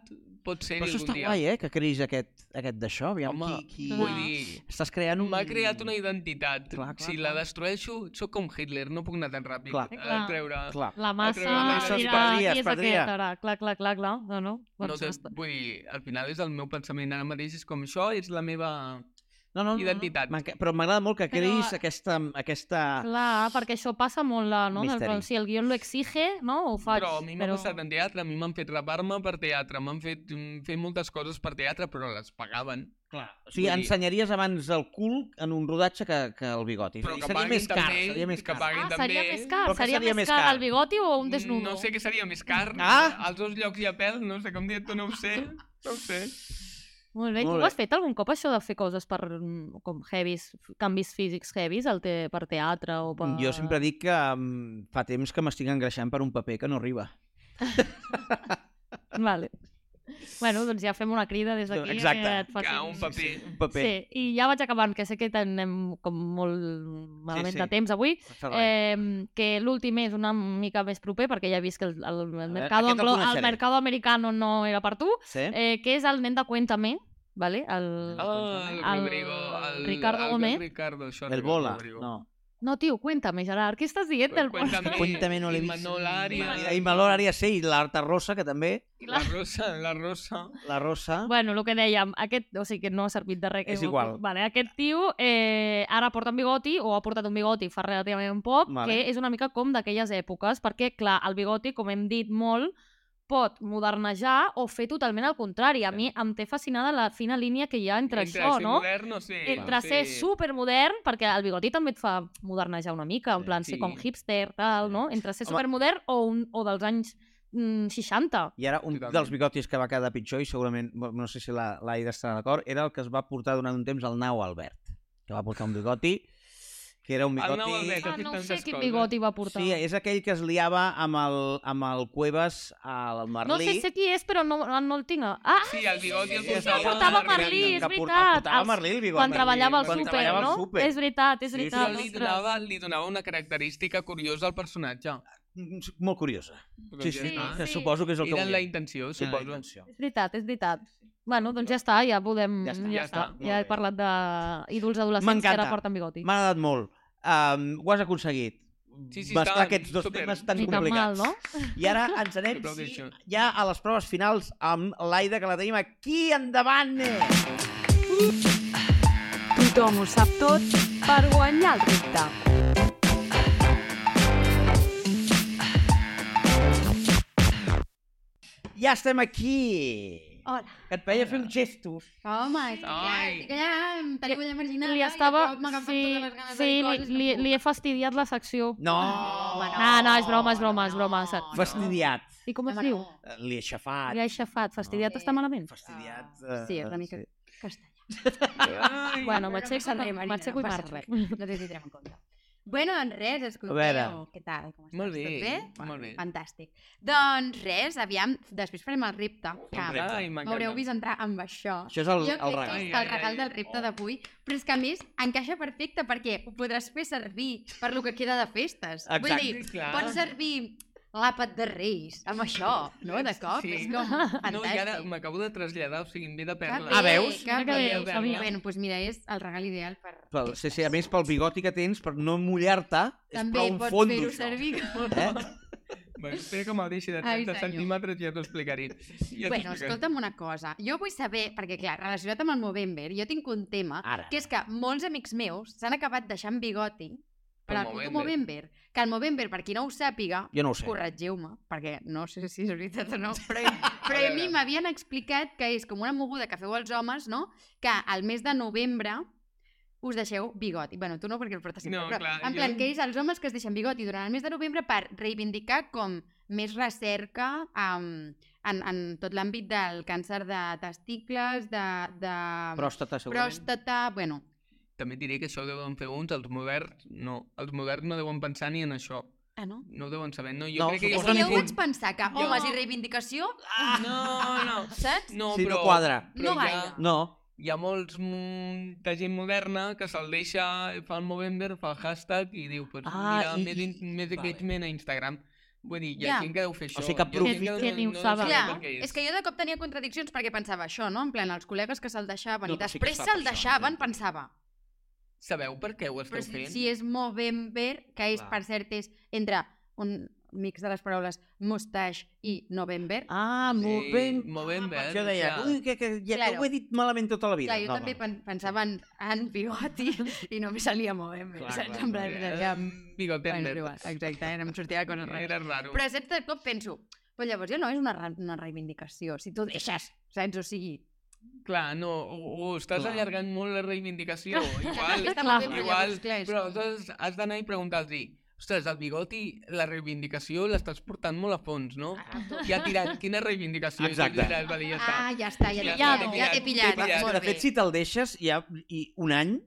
pot ser Però això algun està dia. guai, eh, que creïs aquest, aquest d'això. Aviam, Home, qui, qui... vull Ah. dir... Estàs creant un... M'ha creat una identitat. Clar, clar, si la clar. destrueixo, sóc com Hitler, no puc anar tan ràpid Clar. a Clar. treure... Clar. La massa treure la massa es dirà, perdria, qui es és perdria. aquest ara? Clar, clar, clar, clar. No, no. No Doncs sé, està- vull dir, al final és el meu pensament ara mateix, és com això, és la meva... No, no, no, Identitat. No. M'enca- Però m'agrada molt que Però- creïs aquesta... aquesta... Clar, perquè això passa molt, la, no? Misteri. Misteri. Si el guió lo exige, no? Ho faig. però a mi m'ha passat en teatre, a mi m'han fet rapar-me per teatre, m'han fet mm, fer moltes coses per teatre, però les pagaven. Clar. O sigui, vull dir- ensenyaries abans el cul en un rodatge que, que el bigoti. Però I que seria paguin més car, també, seria més que car. paguin Ah, seria també. eh? Mm, més car. Però què Seria, més car, el bigoti o un desnudo? No sé què seria més car. Ah! Als dos llocs hi ha pèl, no sé com dir tu, no ho sé. No ho sé. Molt bé. Molt Molt bé. tu has fet algun cop això de fer coses per, mm, com heavies, canvis físics heavies al te, per teatre o per... Jo sempre dic que um, fa temps que m'estic engreixant per un paper que no arriba. Vale. Bueno, doncs ja fem una crida des d'aquí. Exacte. que et facis- Que un paper... Un paper. Sí, i ja vaig acabant, que sé que tenem com molt malament sí, sí. sí. de temps avui. No fa res. Eh, que l'últim és una mica més proper, perquè ja he vist que el, el, el, mercado, Eh, aquest el anglo, el coneixeré. mercado americano no era per tu, sí? eh, que és el nen de Cuéntame, vale? el... Ah, el El Rodrigo. El, Ricardo el Gómez. Ricardo, això, el bola. Rodrigo. No. No, tio, cuéntame, Gerard, què estàs dient? Del... Cuéntame, Cuéntame, no l'he i vist. Manol Arias. I Malor Arias sí, i l'Arta Rosa, que també. La rosa, la rosa. La Rosa. Bueno, el que dèiem, aquest, o sigui que no ha servit de res. que És heu- igual. Vale, aquest tio eh, ara porta un bigoti, o ha portat un bigoti fa relativament poc, Vale. vale. que és una mica com d'aquelles èpoques, perquè, clar, el bigoti, com hem dit molt, pot modernejar o fer totalment el contrari. A mi em té fascinada la fina línia que hi ha entre, Entre això, ser no? modern, no sé. Entre sí. ser supermodern, perquè el bigoti també et fa modernejar una mica, en Sí. plan, ser Sí. com hipster, tal, Sí. no? Entre ser Home. supermodern o, un, o dels anys mm, 60. I ara un Totalment. dels bigotis que va quedar pitjor, i segurament, bo- no sé si la- l'Aida la, estarà d'acord, era el que es va portar durant un temps el nau Albert, que va portar un bigoti, que era un El bigoti... Nau Albert, Ah, fet no sé tantes quin coses. bigoti va portar. Sí, és aquell que es liava amb el, amb el Cuevas al Merlí. No sé, sé qui és, però no, no el tinc. a- Ah, Sí, el bigoti el Sí, sí, sí, portava. el portava Margarita. Merlí, és que por- veritat. el portava Els- Merlí, el bigoti. quan treballava al quan súper, treballava al no? súper. És veritat, és Sí, sí, veritat. Però li ostres. donava, li donava una característica curiosa al personatge. Mm, Molt curiosa. Sí, sí, Doncs ja Sí, que sí. suposo que és el que està. Era la volia. intenció, Sí, la suposo. intenció. És veritat, és veritat. Bueno, doncs ja està, ja podem... Ja està, ja està. Molt Ja bé. he parlat d'ídols adolescents que ara M'encanta. porten bigoti. M'ha agradat molt. Um, ho has aconseguït. Sí, sí, Bastar està aquests dos super. temes tan Ni tan mal, complicats. no? I ara ens anem Prou sí, d'això. ja a les proves finals amb l'Aida, que la tenim aquí endavant. Tothom ho sap tot per guanyar el repte. Ja estem aquí. Hola. Que et veia fer uns gestos. Home, és que ja, Ai. estic allà amb tarulla marginal. Li estava... Sí, sí li, li, li he fastidiat la secció. No, No, no, és broma, és broma, és broma. fastidiat. I com es diu? Li he aixafat. Li ha aixafat. Fastidiat Sí. està malament? Fastidiat. Sí, eh, una mica castanya. Ai, Bueno, Però m'aixeco passa res, Marina, m'aixeco i no marxo. passa res. No t'hi tindrem en compte. Bueno, doncs res, escolteu. veure. Què tal? Com estàs? Molt bé, Tot bé? molt bé. Fantàstic. Doncs res, aviam, després farem el repte, que repte. Ai, m'encanta. m'haureu vist entrar amb això. Això és el, Jo el crec que regal. és el Ai, ai, ai. regal del repte d'avui, però és que a més encaixa perfecte perquè ho podràs fer servir per lo que queda de festes. Exacte. Vull dir, Sí, clar. pots servir l'àpat de Reis amb això, no? De cop, Sí. és com No, i ara fantàstic. m'acabo de traslladar, o sigui, em ve de No, perles. Ah, veus? Que Mira que bé, bé, ho que bé. sabia. Bueno, doncs mira, és el regal ideal per... Pel, sí, sí, a més, pel bigoti que tens, per no mullar-te, és També prou un pots fondo. fer-ho això. servir. Eh? Espera que me'l deixi de Ai, 30 senyor. centímetres i ja t'ho explicaré. Ja t'ho Bueno, explicaré. escolta'm una cosa. Jo vull saber, perquè clar, relacionat amb el Movember, jo tinc un tema, Ara. que és que molts amics meus s'han acabat deixant bigoti per Pel al puto Movember. Movember. Que el Movember, per qui no ho sàpiga, Jo no ho sé. corregeu-me, perquè no sé si és veritat o no, però, però a, veure. mi m'havien explicat que és com una moguda que feu els homes, no? Que al mes de novembre us deixeu bigot. I, bueno, tu no, perquè el portes sempre. No, però, clar, en jo- plan, que és els homes que es deixen bigot i durant el mes de novembre per reivindicar com més recerca um, en, en tot l'àmbit del càncer de testicles, de, de Pròstata, segurament. pròstata... Bueno, També diré que això ho deuen fer uns, els moderns no. Els moderns no deuen pensar ni en això. ah, no? No ho deuen saber. No, jo No, crec que És ja suposo Posen que jo tenen ho punt. vaig pensar, que Jo- homes i reivindicació, un- No, no. Ah, saps? No, si però, no quadra. però No hi ha- gaire. No. hi ha molts mm, de gent moderna que se'l deixa, fa el Movember, fa el hashtag i diu, pues, Ah, mira, i- més, in- més engagement a Instagram. Vull dir, hi ha Ja. gent que deu fer això. sigui que hi ha gent aprofita- no- que ni ho no saben. sap Clar, per què és. que jo de cop tenia contradiccions perquè pensava això, no? En plan, els col·legues que se'l deixaven No, i però sí que després està se'l per això, deixaven, entenc. pensava. Sabeu per què ho esteu Però si, fent? si és Movember, que és, Clar. per cert, és entre un mix de les paraules mustache i November. Ah, Ah, molt ben. Movember. Jo deia, clar. ui, que, que ja Claro. ho he dit malament tota la vida. clar, jo també no. pen pensava en, en bigoti i no me salia Movember, Clar, saps? clar, En plan, Eh, ja... Bigot Bueno, Bender. és igual, exacte, eh? no em sortia la cosa res. Era raro. Però excepte de cop penso, però llavors ja no és una, re- una reivindicació, si tu deixes, saps? O sigui, Clar, no, ho, ho estàs Clar. allargant molt la reivindicació. Igual, Està molt bé, però igual, llavors, clar, és però com- aleshores has d'anar i preguntar-los ostres, el bigoti, la reivindicació l'estàs portant molt a fons, no? Ah, I ha tirat, quina reivindicació? I tu Exacte. diràs, "Vale, ja està. ah, ja està, ja Ja t'he està, pillat, t'he ja pillat, t'he pillat, t'he pillat. molt De bé. fet, si te'l deixes, ja i un any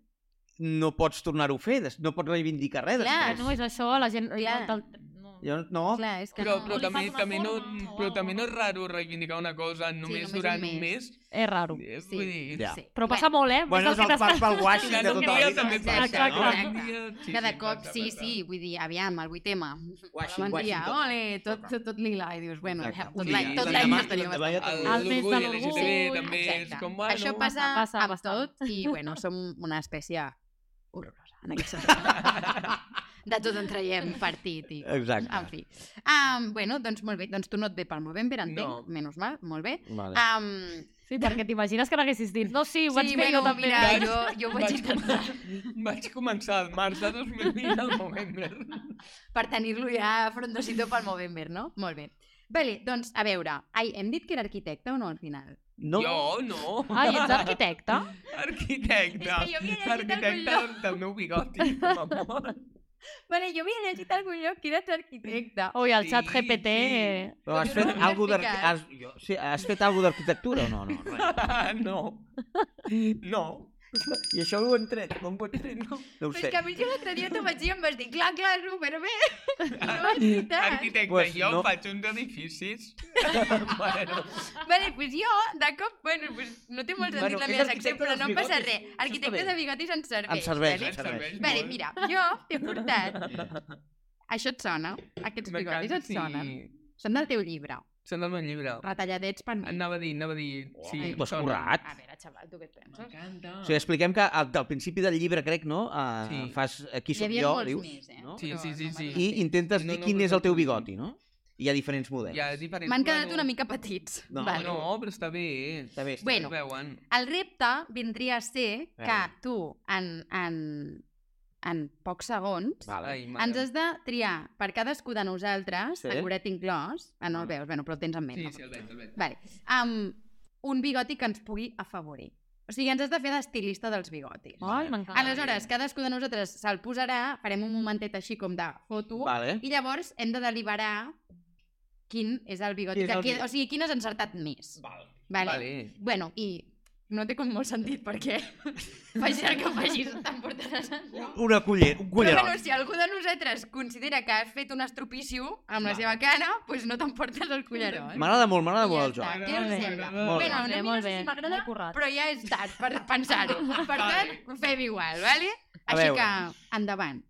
no pots tornar-ho a fer, des- no pots reivindicar res. Clar, Ah, després. no és això, la gent... Clar. Del... No. Jo, no, Clar, és que Però, no... però, O li també, fas una també no, Oh. forma o però alguna també no és cosa. raro reivindicar una cosa només, només un durant un mes. eh, mes. És raro. És, Sí. Vull dir, Ja. Però passa molt, eh? Més Bueno, del és que el t'has- pas pel guaix de Durant un tota la dia vida. també Exacte, passa, no? exacte. Un dia, sí, Cada sí, cop, passa, sí, passa. sí, vull dir, aviam, el vuitè mà. Washington, Bon dia, Washington. ole, tot, tot, tot lila, i dius, bueno, Exacte. tot Un l'any, dia, tot tot l'any demà, ens tenim tot demà ja El- tenim. El mes de l'orgull l'orgull, LGTB també és Exacte. com, bueno, Això passa, passa, amb passa. tot i, bueno, som una espècie horrorosa, en aquest sentit. De tot en traiem partit i... Exacte. En fi. Um, bueno, doncs molt bé, doncs tu no et ve pel Movember, entenc, No. menys mal, molt bé. Vale. Um, Sí, perquè t'imagines que n'haguessis dit. No, sí, ho vaig sí, fer bueno, jo també. mira, Vaig- jo, jo ho vaig vaig intentar Vaig començar el març de 2020 al novembre. per tenir-lo ja frondosito pel Movember, no? Molt bé. Vale, doncs, a veure, ai, hem dit que era arquitecte o no al final? No, Jo, no. Ai, ets arquitecte? Arquitecte. És que jo havia llegit Arquitecte algun del meu bigoti, per favor. Vale, jo havia llegit a algun lloc que eres arquitecte. Ui, el Sí, xat GPT... sí. eh, però has Jo fet no m'ho he algo d'arqui- explicat. has- jo- sí, has fet algo d'arquitectura o no? No, res. No. No. I això ho hem tret? No em pot dir No ho no. Però Oh, és sé. que a mi jo l'altre dia t'ho vaig dir i em vas dir, clar, clar, super bé. No ho has citat. Arquitecte, Pues pues jo no. no. faig uns edificis. bueno, Vale, doncs jo, de cop, bueno, pues no té molt sentit Bueno, la és meva secció, arquitecte però dels no em passa bigotis. res. Això Arquitecte està bé. de bigotis ens serveix. Em serveix, vale? em serveix. serveix. Vale, mira, jo he portat, això et sona, aquests bigotis et sonen. Són del teu llibre, Són del meu llibre. retalladets per mi. Anava a dir, anava a dir... Sí, Ai, em T'ho has sonen. currat. A veure, xaval, tu què et penses? M'encanta. O sigui, expliquem que al, al principi del llibre, crec, no? Ah, Uh, sí. Sí. Fas eh, qui Hi sóc havia jo, molts dius, més, eh? no? Sí, Però sí, sí, no sí. m'agrada. I intentes No, dir no, quin no és el teu sé. bigoti, no? I hi ha diferents models. Hi ha diferents... M'han quedat bueno, una mica petits. No, vale. No, però està bé. Està bé. està Bueno. Es veuen. El repte vindria a ser que Vinga. tu, en, en, en pocs segons, bé. Vale. Ai, mare. ens has de triar per cadascú de nosaltres, Sí. sí. acurat inclòs, ah, no Ah. el veus, bueno, però el tens en ment. Sí, sí, el veig, el veig. Vale. Amb un bigoti que ens pugui afavorir. O sigui, ens has de fer d'estilista dels bigotis. Ai, m'encanta. Aleshores, cadascú de nosaltres se'l posarà, farem un momentet així com de foto, Vale. i llavors hem de deliberar quin és el bigoti. Qui és que el queda- bigoti? O sigui, quin has encertat més. Vale. Vale. Vale. Bueno, i no té com molt sentit perquè facis el que facis, t'emportaràs allò. Una culler, un Però cullerot. bueno, si algú de nosaltres considera que has fet un estropicio amb la seva cara, doncs pues no t'emportes el collaró. Eh? M'agrada molt, m'agrada I ja molt el està. joc. Què us Molt bé. sembla? Molt bé. Bueno, a Molt mi bé, no molt sé bé. si M'he m'agrada, currat. però ja és tard per pensar-ho. Per tant, ho fem igual, vale? A Així veure. que, endavant.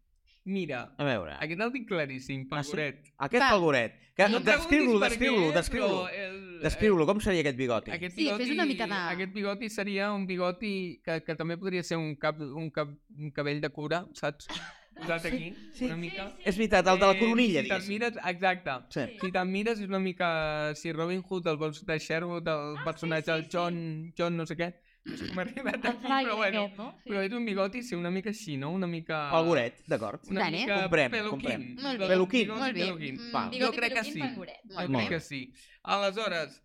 Mira, A veure, aquest el tinc claríssim, Ah, sí? Pagoret. aquest Va. palgoret. Que... em preguntis Descriu-lo, per descriu-lo, què, descriu-lo. però eh, el- Descriu-lo, com seria aquest bigoti? Aquest Sí, fes bigoti, una mica de- Aquest bigoti seria un bigoti que, que també podria ser un cap, un cap un cabell de cura, saps? posat aquí, sí. una mica. És veritat, el de la Eh, coronilla, si te'n diguéssim. mires, exacte. Sí. Si te'n mires és una mica... Si Robin Hood, el vols de Sherwood, el ah, personatge del sí, sí, John, John no sé què, és com ha arribat El aquí, fraile però bueno. aquest, no? Sí. Però és un bigoti, sí, una mica així, no? Una mica... Pel goret, d'acord. Una Tant, eh? mica Comprem, peluquín. comprem. Molt bé, Peluquín. bigoti Molt bé. peluquín. Mm, Va. bigoti Jo crec que peluquín sí. pel moret. Molt Jo bé. crec que sí. Aleshores,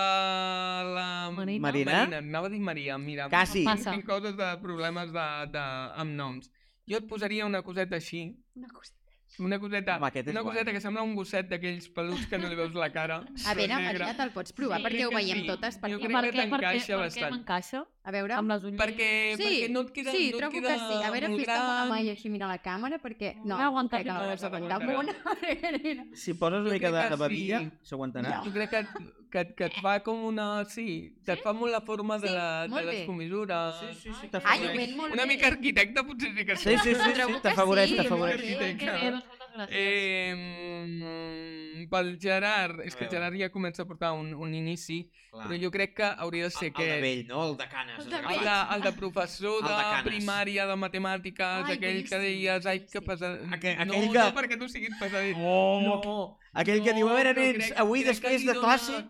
uh, la... Marina. Marina? Marina, anava a dir Maria, mira. Quasi. Passa. Tinc coses de problemes de, de, amb noms. Jo et posaria una coseta així, Una cosa. una coseta, Home, aquest és una guai. coseta que sembla un gosset d'aquells peluts que no li veus la cara. A veure, negre. Marina, te'l pots provar Sí, perquè crec ho que veiem sí. totes. Jo Perquè... crec que t'encaixa Per què bastant. m'encaixa? A veure... Amb les ulleres? Perquè, Sí, perquè no et queda... sí, no et trobo queda que sí. A veure, molt fes-te amb la mà gran. i així mira la càmera, perquè... No No, aguantaré. crec que No, no vas aguantar s'aguantarà. amb una. Si poses una Jo mica crec de, que de babilla, sí. s'aguantarà. Jo crec que, que, que et fa com una... Sí, que et fa molt la forma de, la, molt de les bé. comissures. sí, sí. Ai, t'afavoreix. ho ven molt Una bé. mica arquitecte potser sí que Sí, sí, sí, sí, Trobo que t'afavoreix, sí. t'afavoreix. Sí, Que que- bé, doncs moltes gràcies. Eh, mm, pel Gerard, és que el Gerard ja comença a portar un, un inici, però jo crec que hauria Ah, de ser El de aquest. vell, no? El de canes. El de El de, el de professor El de de, Canes. primària de matemàtiques, Ai, aquell que boníssim, deies, ai, que boníssim. pesat... Aquell- no, aquell que- no perquè tu siguis pesadet. Oh, no, Aquell que diu, a veure, però nens, avui crec que després li de dona- classe...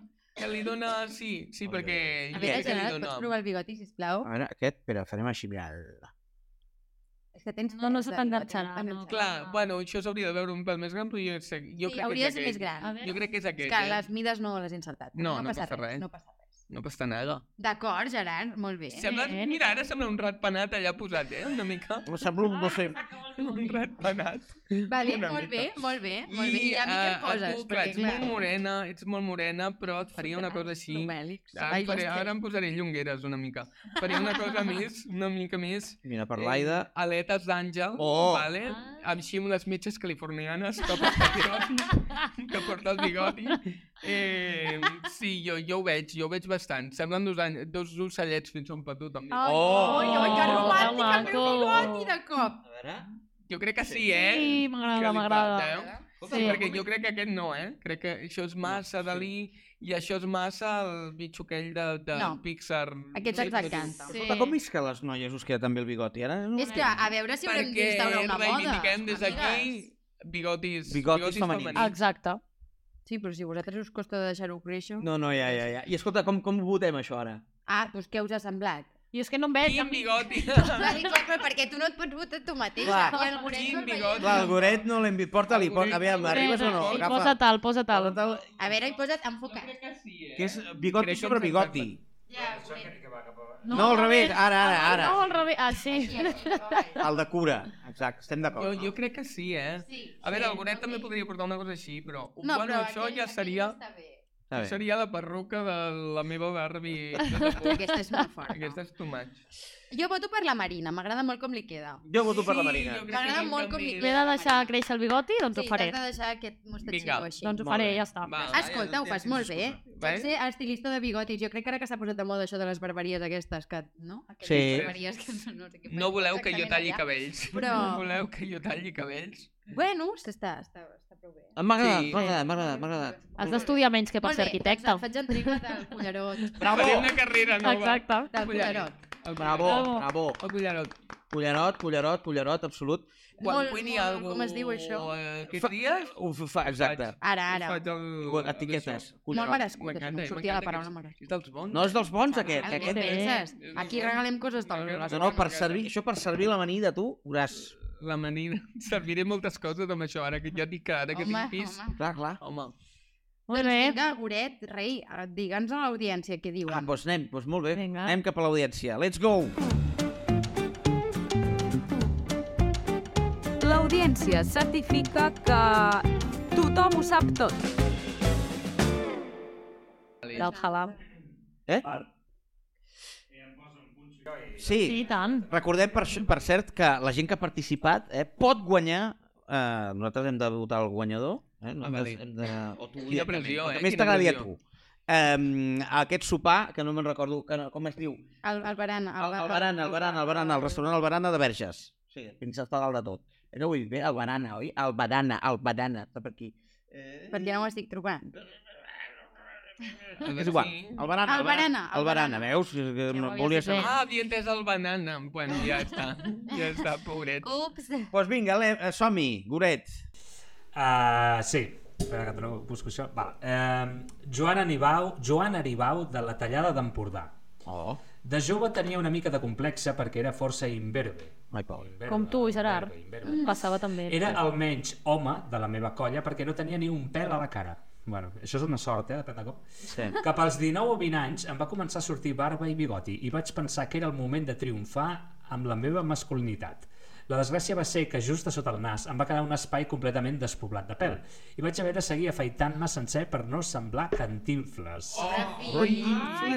Que li dona... Sí, sí, Oi, perquè... oi, oi. jo A crec veure, que li Gerard, dona- pots provar el bigoti, sisplau? A veure, aquest, espera, farem així, mira. És que tens... No, no tres, se eh? t'enganxarà, Tens- no. Clar, Ah. bueno, això s'hauria de veure un pèl més gran, però jo, sé, jo Sí, crec hauria de que és ser més aquest. gran. A veure. Jo crec que és És aquest. que eh? les mides no les he insultat. No, no passa res. No passa res. No passa nada. D'acord, Gerard, molt bé. Sembla, Eh? mira, ara sembla un ratpenat allà posat, eh? Una mica. Em sembla un, no sé... Un ratpenat. Vale, Una molt bé, mica. molt bé, molt bé. I a mi eh, què em a poses? tu, clar, ets molt morena, ets molt morena, però et faria una cosa així. Ara, Ai, em faré, les ara em posaré llongueres una mica. Faria una cosa més, una mica més... Mira, per l'Aida... Eh, aletes d'àngel, Oh. vale? Ah. Amb així amb les metges californianes que porta el bigoti. que porta el bigoti. Eh, sí, jo, jo ho veig, jo ho veig bastant. Semblen dos, any, dos ocellets fins a un petó, també. Ai, Oh! oi, oi, que Oh, romàntic el que meu maco. bigoti de cop. A veure... Jo crec que sí, eh? Sí, m'agrada, Que li m'agrada. falta, eh? Escolta, Sí. Sí. Perquè jo crec que aquest no, eh? Crec que això és massa sí. Dalí i això és massa el bitxo aquell de, de No. Pixar. Aquests ens encanten. Escolta, com és que a les noies us queda també el bigoti? Ara no... És que, a veure si haurem Perquè d'instaurar una moda. reivindiquem des d'aquí amigues. bigotis, Bigotis femenins. femenins. Exacte. Sí, però si a vosaltres us costa deixar-ho créixer... No, no, ja, ja, ja. I escolta, com, com ho votem, això, ara? Ah, doncs què us ha semblat? I és que no em veig. a Quin mi. bigoti! Clar, clar, clar, perquè tu no et pots votar tu mateixa. Clar. I el Moret Quin no el veiem. bigoti! Clar, el goret no l'hem vist. Porta-li, porta... A veure, arribes o no? Sí, Agafa. Posa tal, posa tal. Porta'l. A veure, he posat enfocat. crec que sí, eh? Que és bigoti Creixen sobre sense bigoti. Ja, No, al revés, ara, ara, ara. No, al revés, ah, sí. El de cura. Exacte, estem Jo, d'acord. jo crec que sí, eh? Sí, A veure, sí, el Goret també ok. podria portar una cosa així, però... bueno, això aquell- ja aquell seria... està bé. Està bé. Seria la perruca de la meva Barbie. Aquesta és molt forta. Aquesta és too much. Jo voto per la Marina, m'agrada molt com li queda. Jo voto per la Marina. jo crec que M'agrada és un molt com canvi li- L'he de deixar créixer el bigoti, doncs ho Sí, faré. t'has de deixar aquest Vinga, mostatxillo així. Doncs ho Molt faré, bé. ja està. Va, Ah, Escolta, ho fas molt bé. Va, Pots ser estilista de bigotis. Jo crec que ara que s'ha posat de moda això de les barberies aquestes, que, no? Aquelles Sí. Barberies que no, no sé què No fan voleu que jo exactament talli allà. cabells. Però- No voleu que jo talli cabells. Bueno, s'està, està, està prou bé. M'ha agradat, Sí. m'ha agradat, m'ha agradat, m'ha agradat. Has d'estudiar menys que per Molt ser bé, arquitecte. Doncs et faig entrega del cullerot. Bravo! Faré una carrera nova. Oh, Exacte. Collarot. Del cullerot. El Bravo, Bravo. bravo. El collarot. Cullerot, cullerot, cullerot, absolut. Quan Molt- cuini molt- algo... com es diu això? eh, Fa- Aquests dies... Ho fa- fa, exacte. Ara, ara. Faig el... Etiquetes. Molt Cullerot. merescut, això, em eh, sortia la m'encanta paraula aquests- merescut. És dels bons. No és dels bons, aquest. El que que aquest és... penses? Aquí regalem coses de No, les no, per servir, això per servir l'amanida, tu, veuràs. La manida. Serviré moltes coses amb això, ara que ja dic que ara que Home, tinc pis... home. Clar, clar. Home, Molt Doncs bé. vinga, Goret, rei, eh, digue'ns a l'audiència què diuen. Ah, doncs anem, doncs molt bé. Vinga. Anem cap a l'audiència. Let's go! L'audiència certifica que tothom ho sap tot. Del halal. Eh? Sí. Sí, i tant. Recordem, per, això- per cert, que la gent que ha participat eh, pot guanyar... Eh, nosaltres hem de votar el guanyador. Eh? Nosaltres vale. hem de... O tu, Quina directament, pressió, el eh? que Més Quina t'agradi a tu. pressió. Um, aquest sopar, que no me'n recordo que no, com es diu, El, el baran. el, el Barana, el Barana, el Barana, el restaurant El Barana de Verges. Sí, fins a dalt de tot. No ho he dit bé, el Barana, oi? El Barana, el Barana, està per aquí. Eh, Perquè no ho estic trobant. És igual. El Barana. El Barana, el El Barana, Barana. veus? Que no, volia volia ser ser... bé. Ah, havia entès el banana. Bueno, ja està. Ja està, pobret. Ups! Doncs pues vinga, Ale, eh, som-hi, Goret. Uh, sí, espera que trobo, busco això. Val. Uh, Joan, Aribau, Joan Aribau, de la tallada d'Empordà. Oh, De jove tenia una mica de complexa perquè era força imberbe. ai, pobre. Imberbe, Com tu, Gerard. Imberbe, imberbe. Passava també. Era almenys home de la meva colla perquè no tenia ni un pèl a la cara. Bueno, això és una sort, eh? Depèn de cop. Sí. Cap als 19 o 20 anys em va començar a sortir barba i bigoti i vaig pensar que era el moment de triomfar amb la meva masculinitat. La desgràcia va ser que just a sota el nas em va quedar un espai completament despoblat de pèl i vaig haver de seguir afaitant-me sencer per no semblar cantinfles. Oh. Ui, Ai,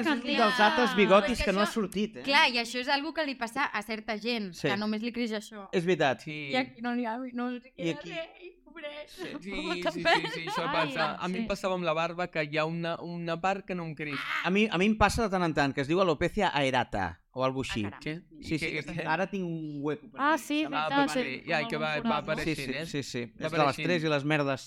és un Candia. dels altres bigotis Perquè que no ha això- sortit, eh? Clar, i això és algo que li passa a certa gent, Sí. sí. que només li creix això. És veritat. Sí. I aquí no n'hi ha, no els I queda aquí- res, pobret. Sí, sí, Home, que sí, sí, pena. sí, això Ai, passa. A mi sí. em passava amb la barba que hi ha una, una part que no em creix. Ah, A mi, a mi em passa de tant en tant, que es diu alopecia aerata, o alguna Ah, així. caram. Sí, Sí, sí, ara tinc un hueco. Per Ah, aquí, sí, em sembla. Ah, veritat, però sí, vale, com ja, el que va- Gonzalo. va aparèixer. Sí, sí, eh? sí, sí. Va És de les apareixent. 3 i les merdes.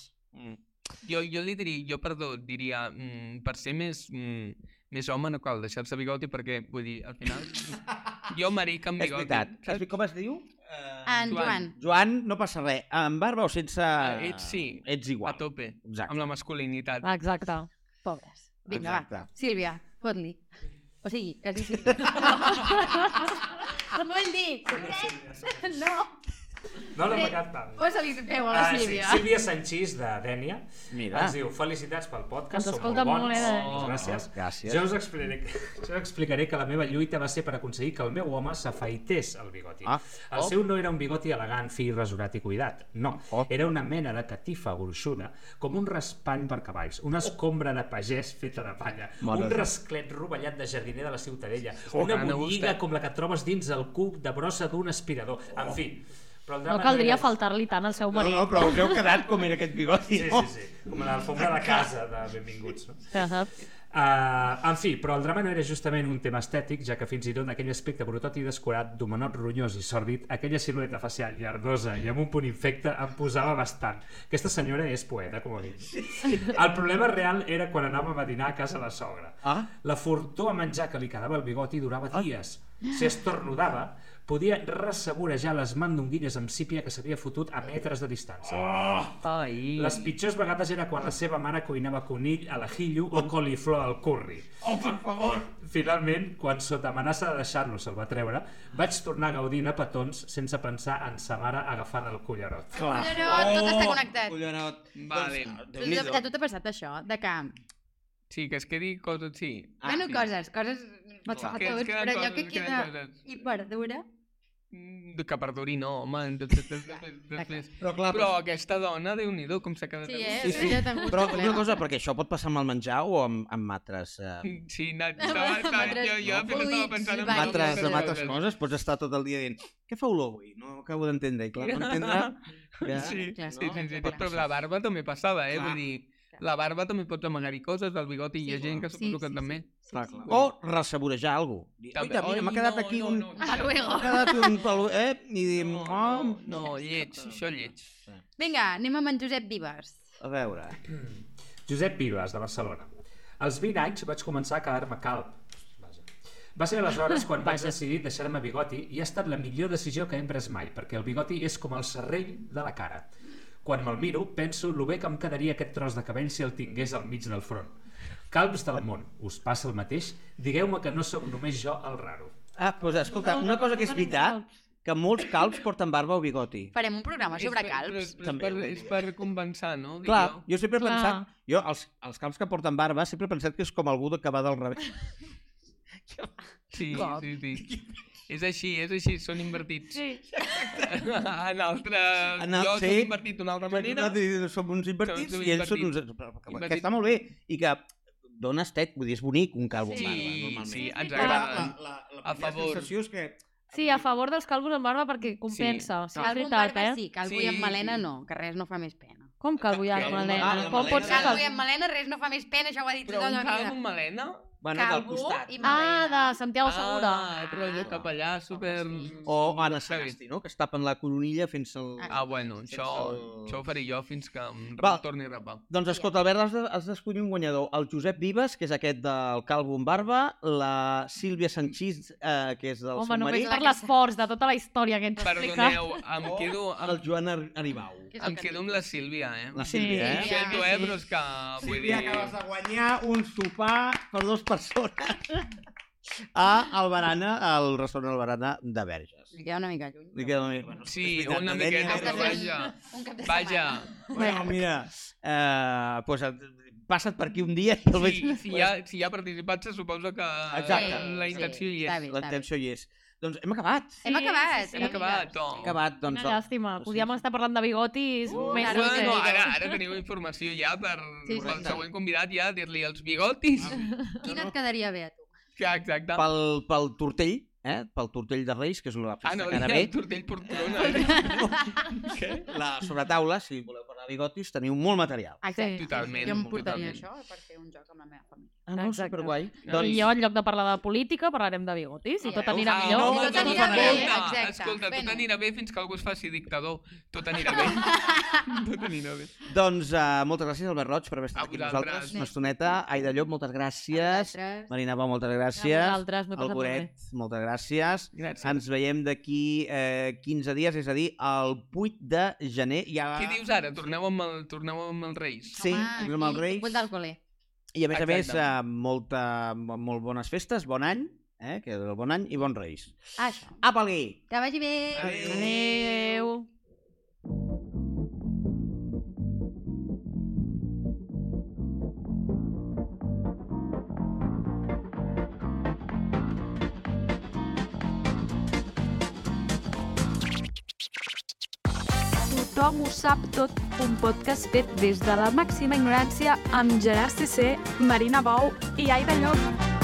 Jo, jo li diria, jo, perdó, diria, mm, per ser més, mm, més home no cal deixar-se bigoti perquè, vull dir, al final... jo, marica, amb És bigoti... veritat. saps? Com es diu? Ah, En Joan. Joan. Joan, no passa res. Amb barba o sense... Ah, ets sí. Ets A igual. tope, amb Exacte. la masculinitat. Ah, Exacte. Pobres. Vinga, Exacte. va. Sílvia, fot-li. O sigui, que es diu Sílvia. Vol dir, pobret, no. No l'he pagat tant. Posa-li veu a la Ah, sí, Sílvia. Sílvia Sanchís, de Dènia, Mira. Ah, ens diu Felicitats pel podcast, Ens som molt escolta bons. molt, eh, Dènia. Oh, gràcies. Gràcies. Jo us, explicaré, jo us explicaré que la meva lluita va ser per aconseguir que el meu home s'afaités el bigoti. Ah, el seu no era un bigoti elegant, fi, rasurat i cuidat. No, Oh. era una mena de catifa gruixuda, com un raspany per cavalls, una escombra de pagès feta de palla, Mare un de- rasclet rovellat de jardiner de la Ciutadella, Oh, una que no bulliga gusta. com la que trobes dins el cuc de brossa d'un aspirador. Oh. En fi, però el No drama caldria era- faltar-li tant al seu marit. No, però us heu quedat com era aquest bigoti, Sí, no? sí, sí. Com l'alfombra de casa de benvinguts, no? Ahà. Uh, en fi, però el drama no era justament un tema estètic, ja que fins i tot aquell aspecte brutot i descurat, d'homenot ronyós i sòrdid, aquella silueta facial llardosa i amb un punt infecte em posava bastant. Aquesta senyora és poeta, com a mínim. El problema real era quan anàvem a dinar a casa la sogra. Ah. La fortor a menjar que li quedava el bigoti durava dies. Si estornudava, podia ressaborejar les mandonguilles amb sípia que s'havia fotut a metres de distància. Ai, Les pitjors vegades era quan la seva mare cuinava conill a l'ajillo o coliflor al curri. Oh, per favor! Finalment, quan sota amenaça de deixar-lo se'l va treure, vaig tornar a gaudir a petons sense pensar en sa mare agafant el cullerot. Clar. Culleró, tot està connectat. Collonot. Vale. Tu- A tu t'ha passat això, de que... sí, que es quedi coses, sí. Ah, bueno, sí. coses, coses... Pots Clar. fer Que ens tots, queden però allò coses, que ens queden queda coses. i verdura... Mm, Que perduri, no, home. Després, després, després. Però clar, Però aquesta dona, déu-n'hi-do, com s'ha quedat. Sí, avui. eh? Sí, sí. Jo també ho Però xoclem. una cosa, perquè això pot passar amb el menjar o amb, amb altres... Eh, Sí, no, estava, estava, jo, jo No, al final fruits, estava pensant en vaja. amb altres, sí, amb sí, altres coses pots estar tot el dia dient què fa olor avui? No acabo d'entendre. I clar, no entendre... Ja. Sí, sí, Clar, sí, clar, sí, clar. però la barba també passava, eh? Clar. Vull dir, la barba també pots amagar-hi coses, el bigoti, hi ha gent que suposo que també. Clar, clar. O ressaborejar alguna cosa. Oita, mira, m'ha quedat aquí un... A luego. M'ha quedat un pelu... Eh? I dir... No, Oh, no, no, lleig, això lleig. Vinga, anem amb en Josep Vives. A veure... Josep Vives, de Barcelona. Als 20 anys vaig començar a quedar-me calb. Vaja. Va ser aleshores quan vaig decidir deixar-me bigoti i ha estat la millor decisió que he pres mai, perquè el bigoti és com el serrell de la cara. Quan me'l miro, penso lo bé que em quedaria aquest tros de cabell si el tingués al mig del front. Calbs del món, us passa el mateix? Digueu-me que no sóc només jo el raro. Ah, doncs escolta, una cosa que és veritat, que molts calbs porten barba o bigoti. Farem un programa sobre És per- però calbs. és- però També. És per, és per compensar, no? Dic Clar, jo. jo sempre he Clar. pensat... Jo, els, els calbs que porten barba, sempre he pensat que és com algú que va del revés. Sí, Cop. sí, sí. És així, és així, són invertits. Sí. en altres... En el- jo sí. soc invertit d'una altra manera. Nosaltres som uns invertits Som uns i ells són uns... invertits. però- però- però- Que Invertit. està molt bé i que dona estet, vull dir, és bonic un calvo amb Sí, barba, normalment. sí, ens Però la- agrada. la- la- A la favor. sensació és que... Sí, a favor dels calvos amb barba perquè compensa. Sí, sí és Calvo amb veritat, barba eh? sí, calvo i Sí. amb melena no, que res no fa més pena. Com calvo i Calvo amb amb melena? barba, Com amb pot ser melena. Calvo i calvo? amb melena res no fa més pena, això ho ha dit Però tota un la calvo vida. amb melena Va anar del Calvo costat. i Ah, Malena. de Santiago Segura. Ah, rotllo capellà, super... O Anna Sagasti, no? Que es tapen la coronilla fins al... Ah, bueno, això, Sense- això ho faré jo fins que em Val. torni a rapar. Doncs escolta, Albert, has de- has d'escollir un guanyador. El Josep Vives, que és aquest del Calvo amb barba, la Sílvia Sanchís, eh, que és del Home, seu només marit, per l'esforç de tota la història que ens explica. Perdoneu, em Oh. quedo, el em, Joan Ar- Aribau. Que és el em que quedo dic. amb la Sílvia, eh? La Sí. Sílvia, Ho eh? Sí. sento, eh, però és que vull dir... Sílvia, acabes de guanyar un sopar... Per dues persones. A Albarana, al restaurant Albarana de Verges. Li queda una mica lluny. Li queda una- bueno, Sí, és veritat, una no tenia miqueta, res però de res. vaja. Un cap de Vaja, Bueno, mira, eh, pues, eh, passa't per aquí un dia i el veig... si, si, hi ha, si hi ha participats, se suposa que Exacte. la intenció hi Està és. bé, La està bé. intenció hi és. Doncs hem acabat. Hem acabat, Hem acabat, Hem Tom. acabat, doncs... Una llàstima, podíem estar parlant de bigotis Uh, més claro, no sé. Bueno, ara, ara teniu informació ja per Sí, sí, pel sí. següent convidat ja dir-li els bigotis. Ah. Quina et quedaria bé a tu? Ja, exacte. Pel, pel tortell, eh? Pel tortell de Reis, que és una Ah, festa no, que ara ja, ve. el tortell portrona. La sobretaula, si voleu parlar bigotis, teniu molt material. Ah, Exacte. Totalment, Jo em portaria totalment. això per fer un joc amb la meva família. Ah, no, Exacte. superguai. I Doncs, jo, en lloc de parlar de política, parlarem de bigotis i Ja tot veus. anirà Ah, millor. no, I no, tot ens anirà anirà bé. bé. Escolta, exacte. escolta, tot Bueno. anirà bé fins que algú es faci dictador. Tot anirà bé. tot anirà bé. doncs uh, moltes gràcies, Albert Roig, per haver estat A aquí amb vosaltres. nosaltres. Una estoneta. Aida Llop, moltes gràcies. Nosaltres- Marina Bau, moltes A gràcies. vosaltres, m'ho he El passat molt bé. Boret, moltes gràcies. Gràcies. Ens veiem d'aquí eh, 15 dies, és a dir, el 8 de gener. Ja... Què dius ara? Torneu amb el, torneu amb els Reis. Sí, amb Home, els aquí, Reis. Vull d'alcoler. I a més a més, Exacte. eh, molta, molt bones festes, bon any, eh, que és el bon any, i bons reis. Ah, això. Apa, Lee! Que vagi bé. Adéu. Adéu. Tothom ho sap tot, un podcast fet des de la màxima ignorància amb Gerard CC, Marina Bou i Aida Llop.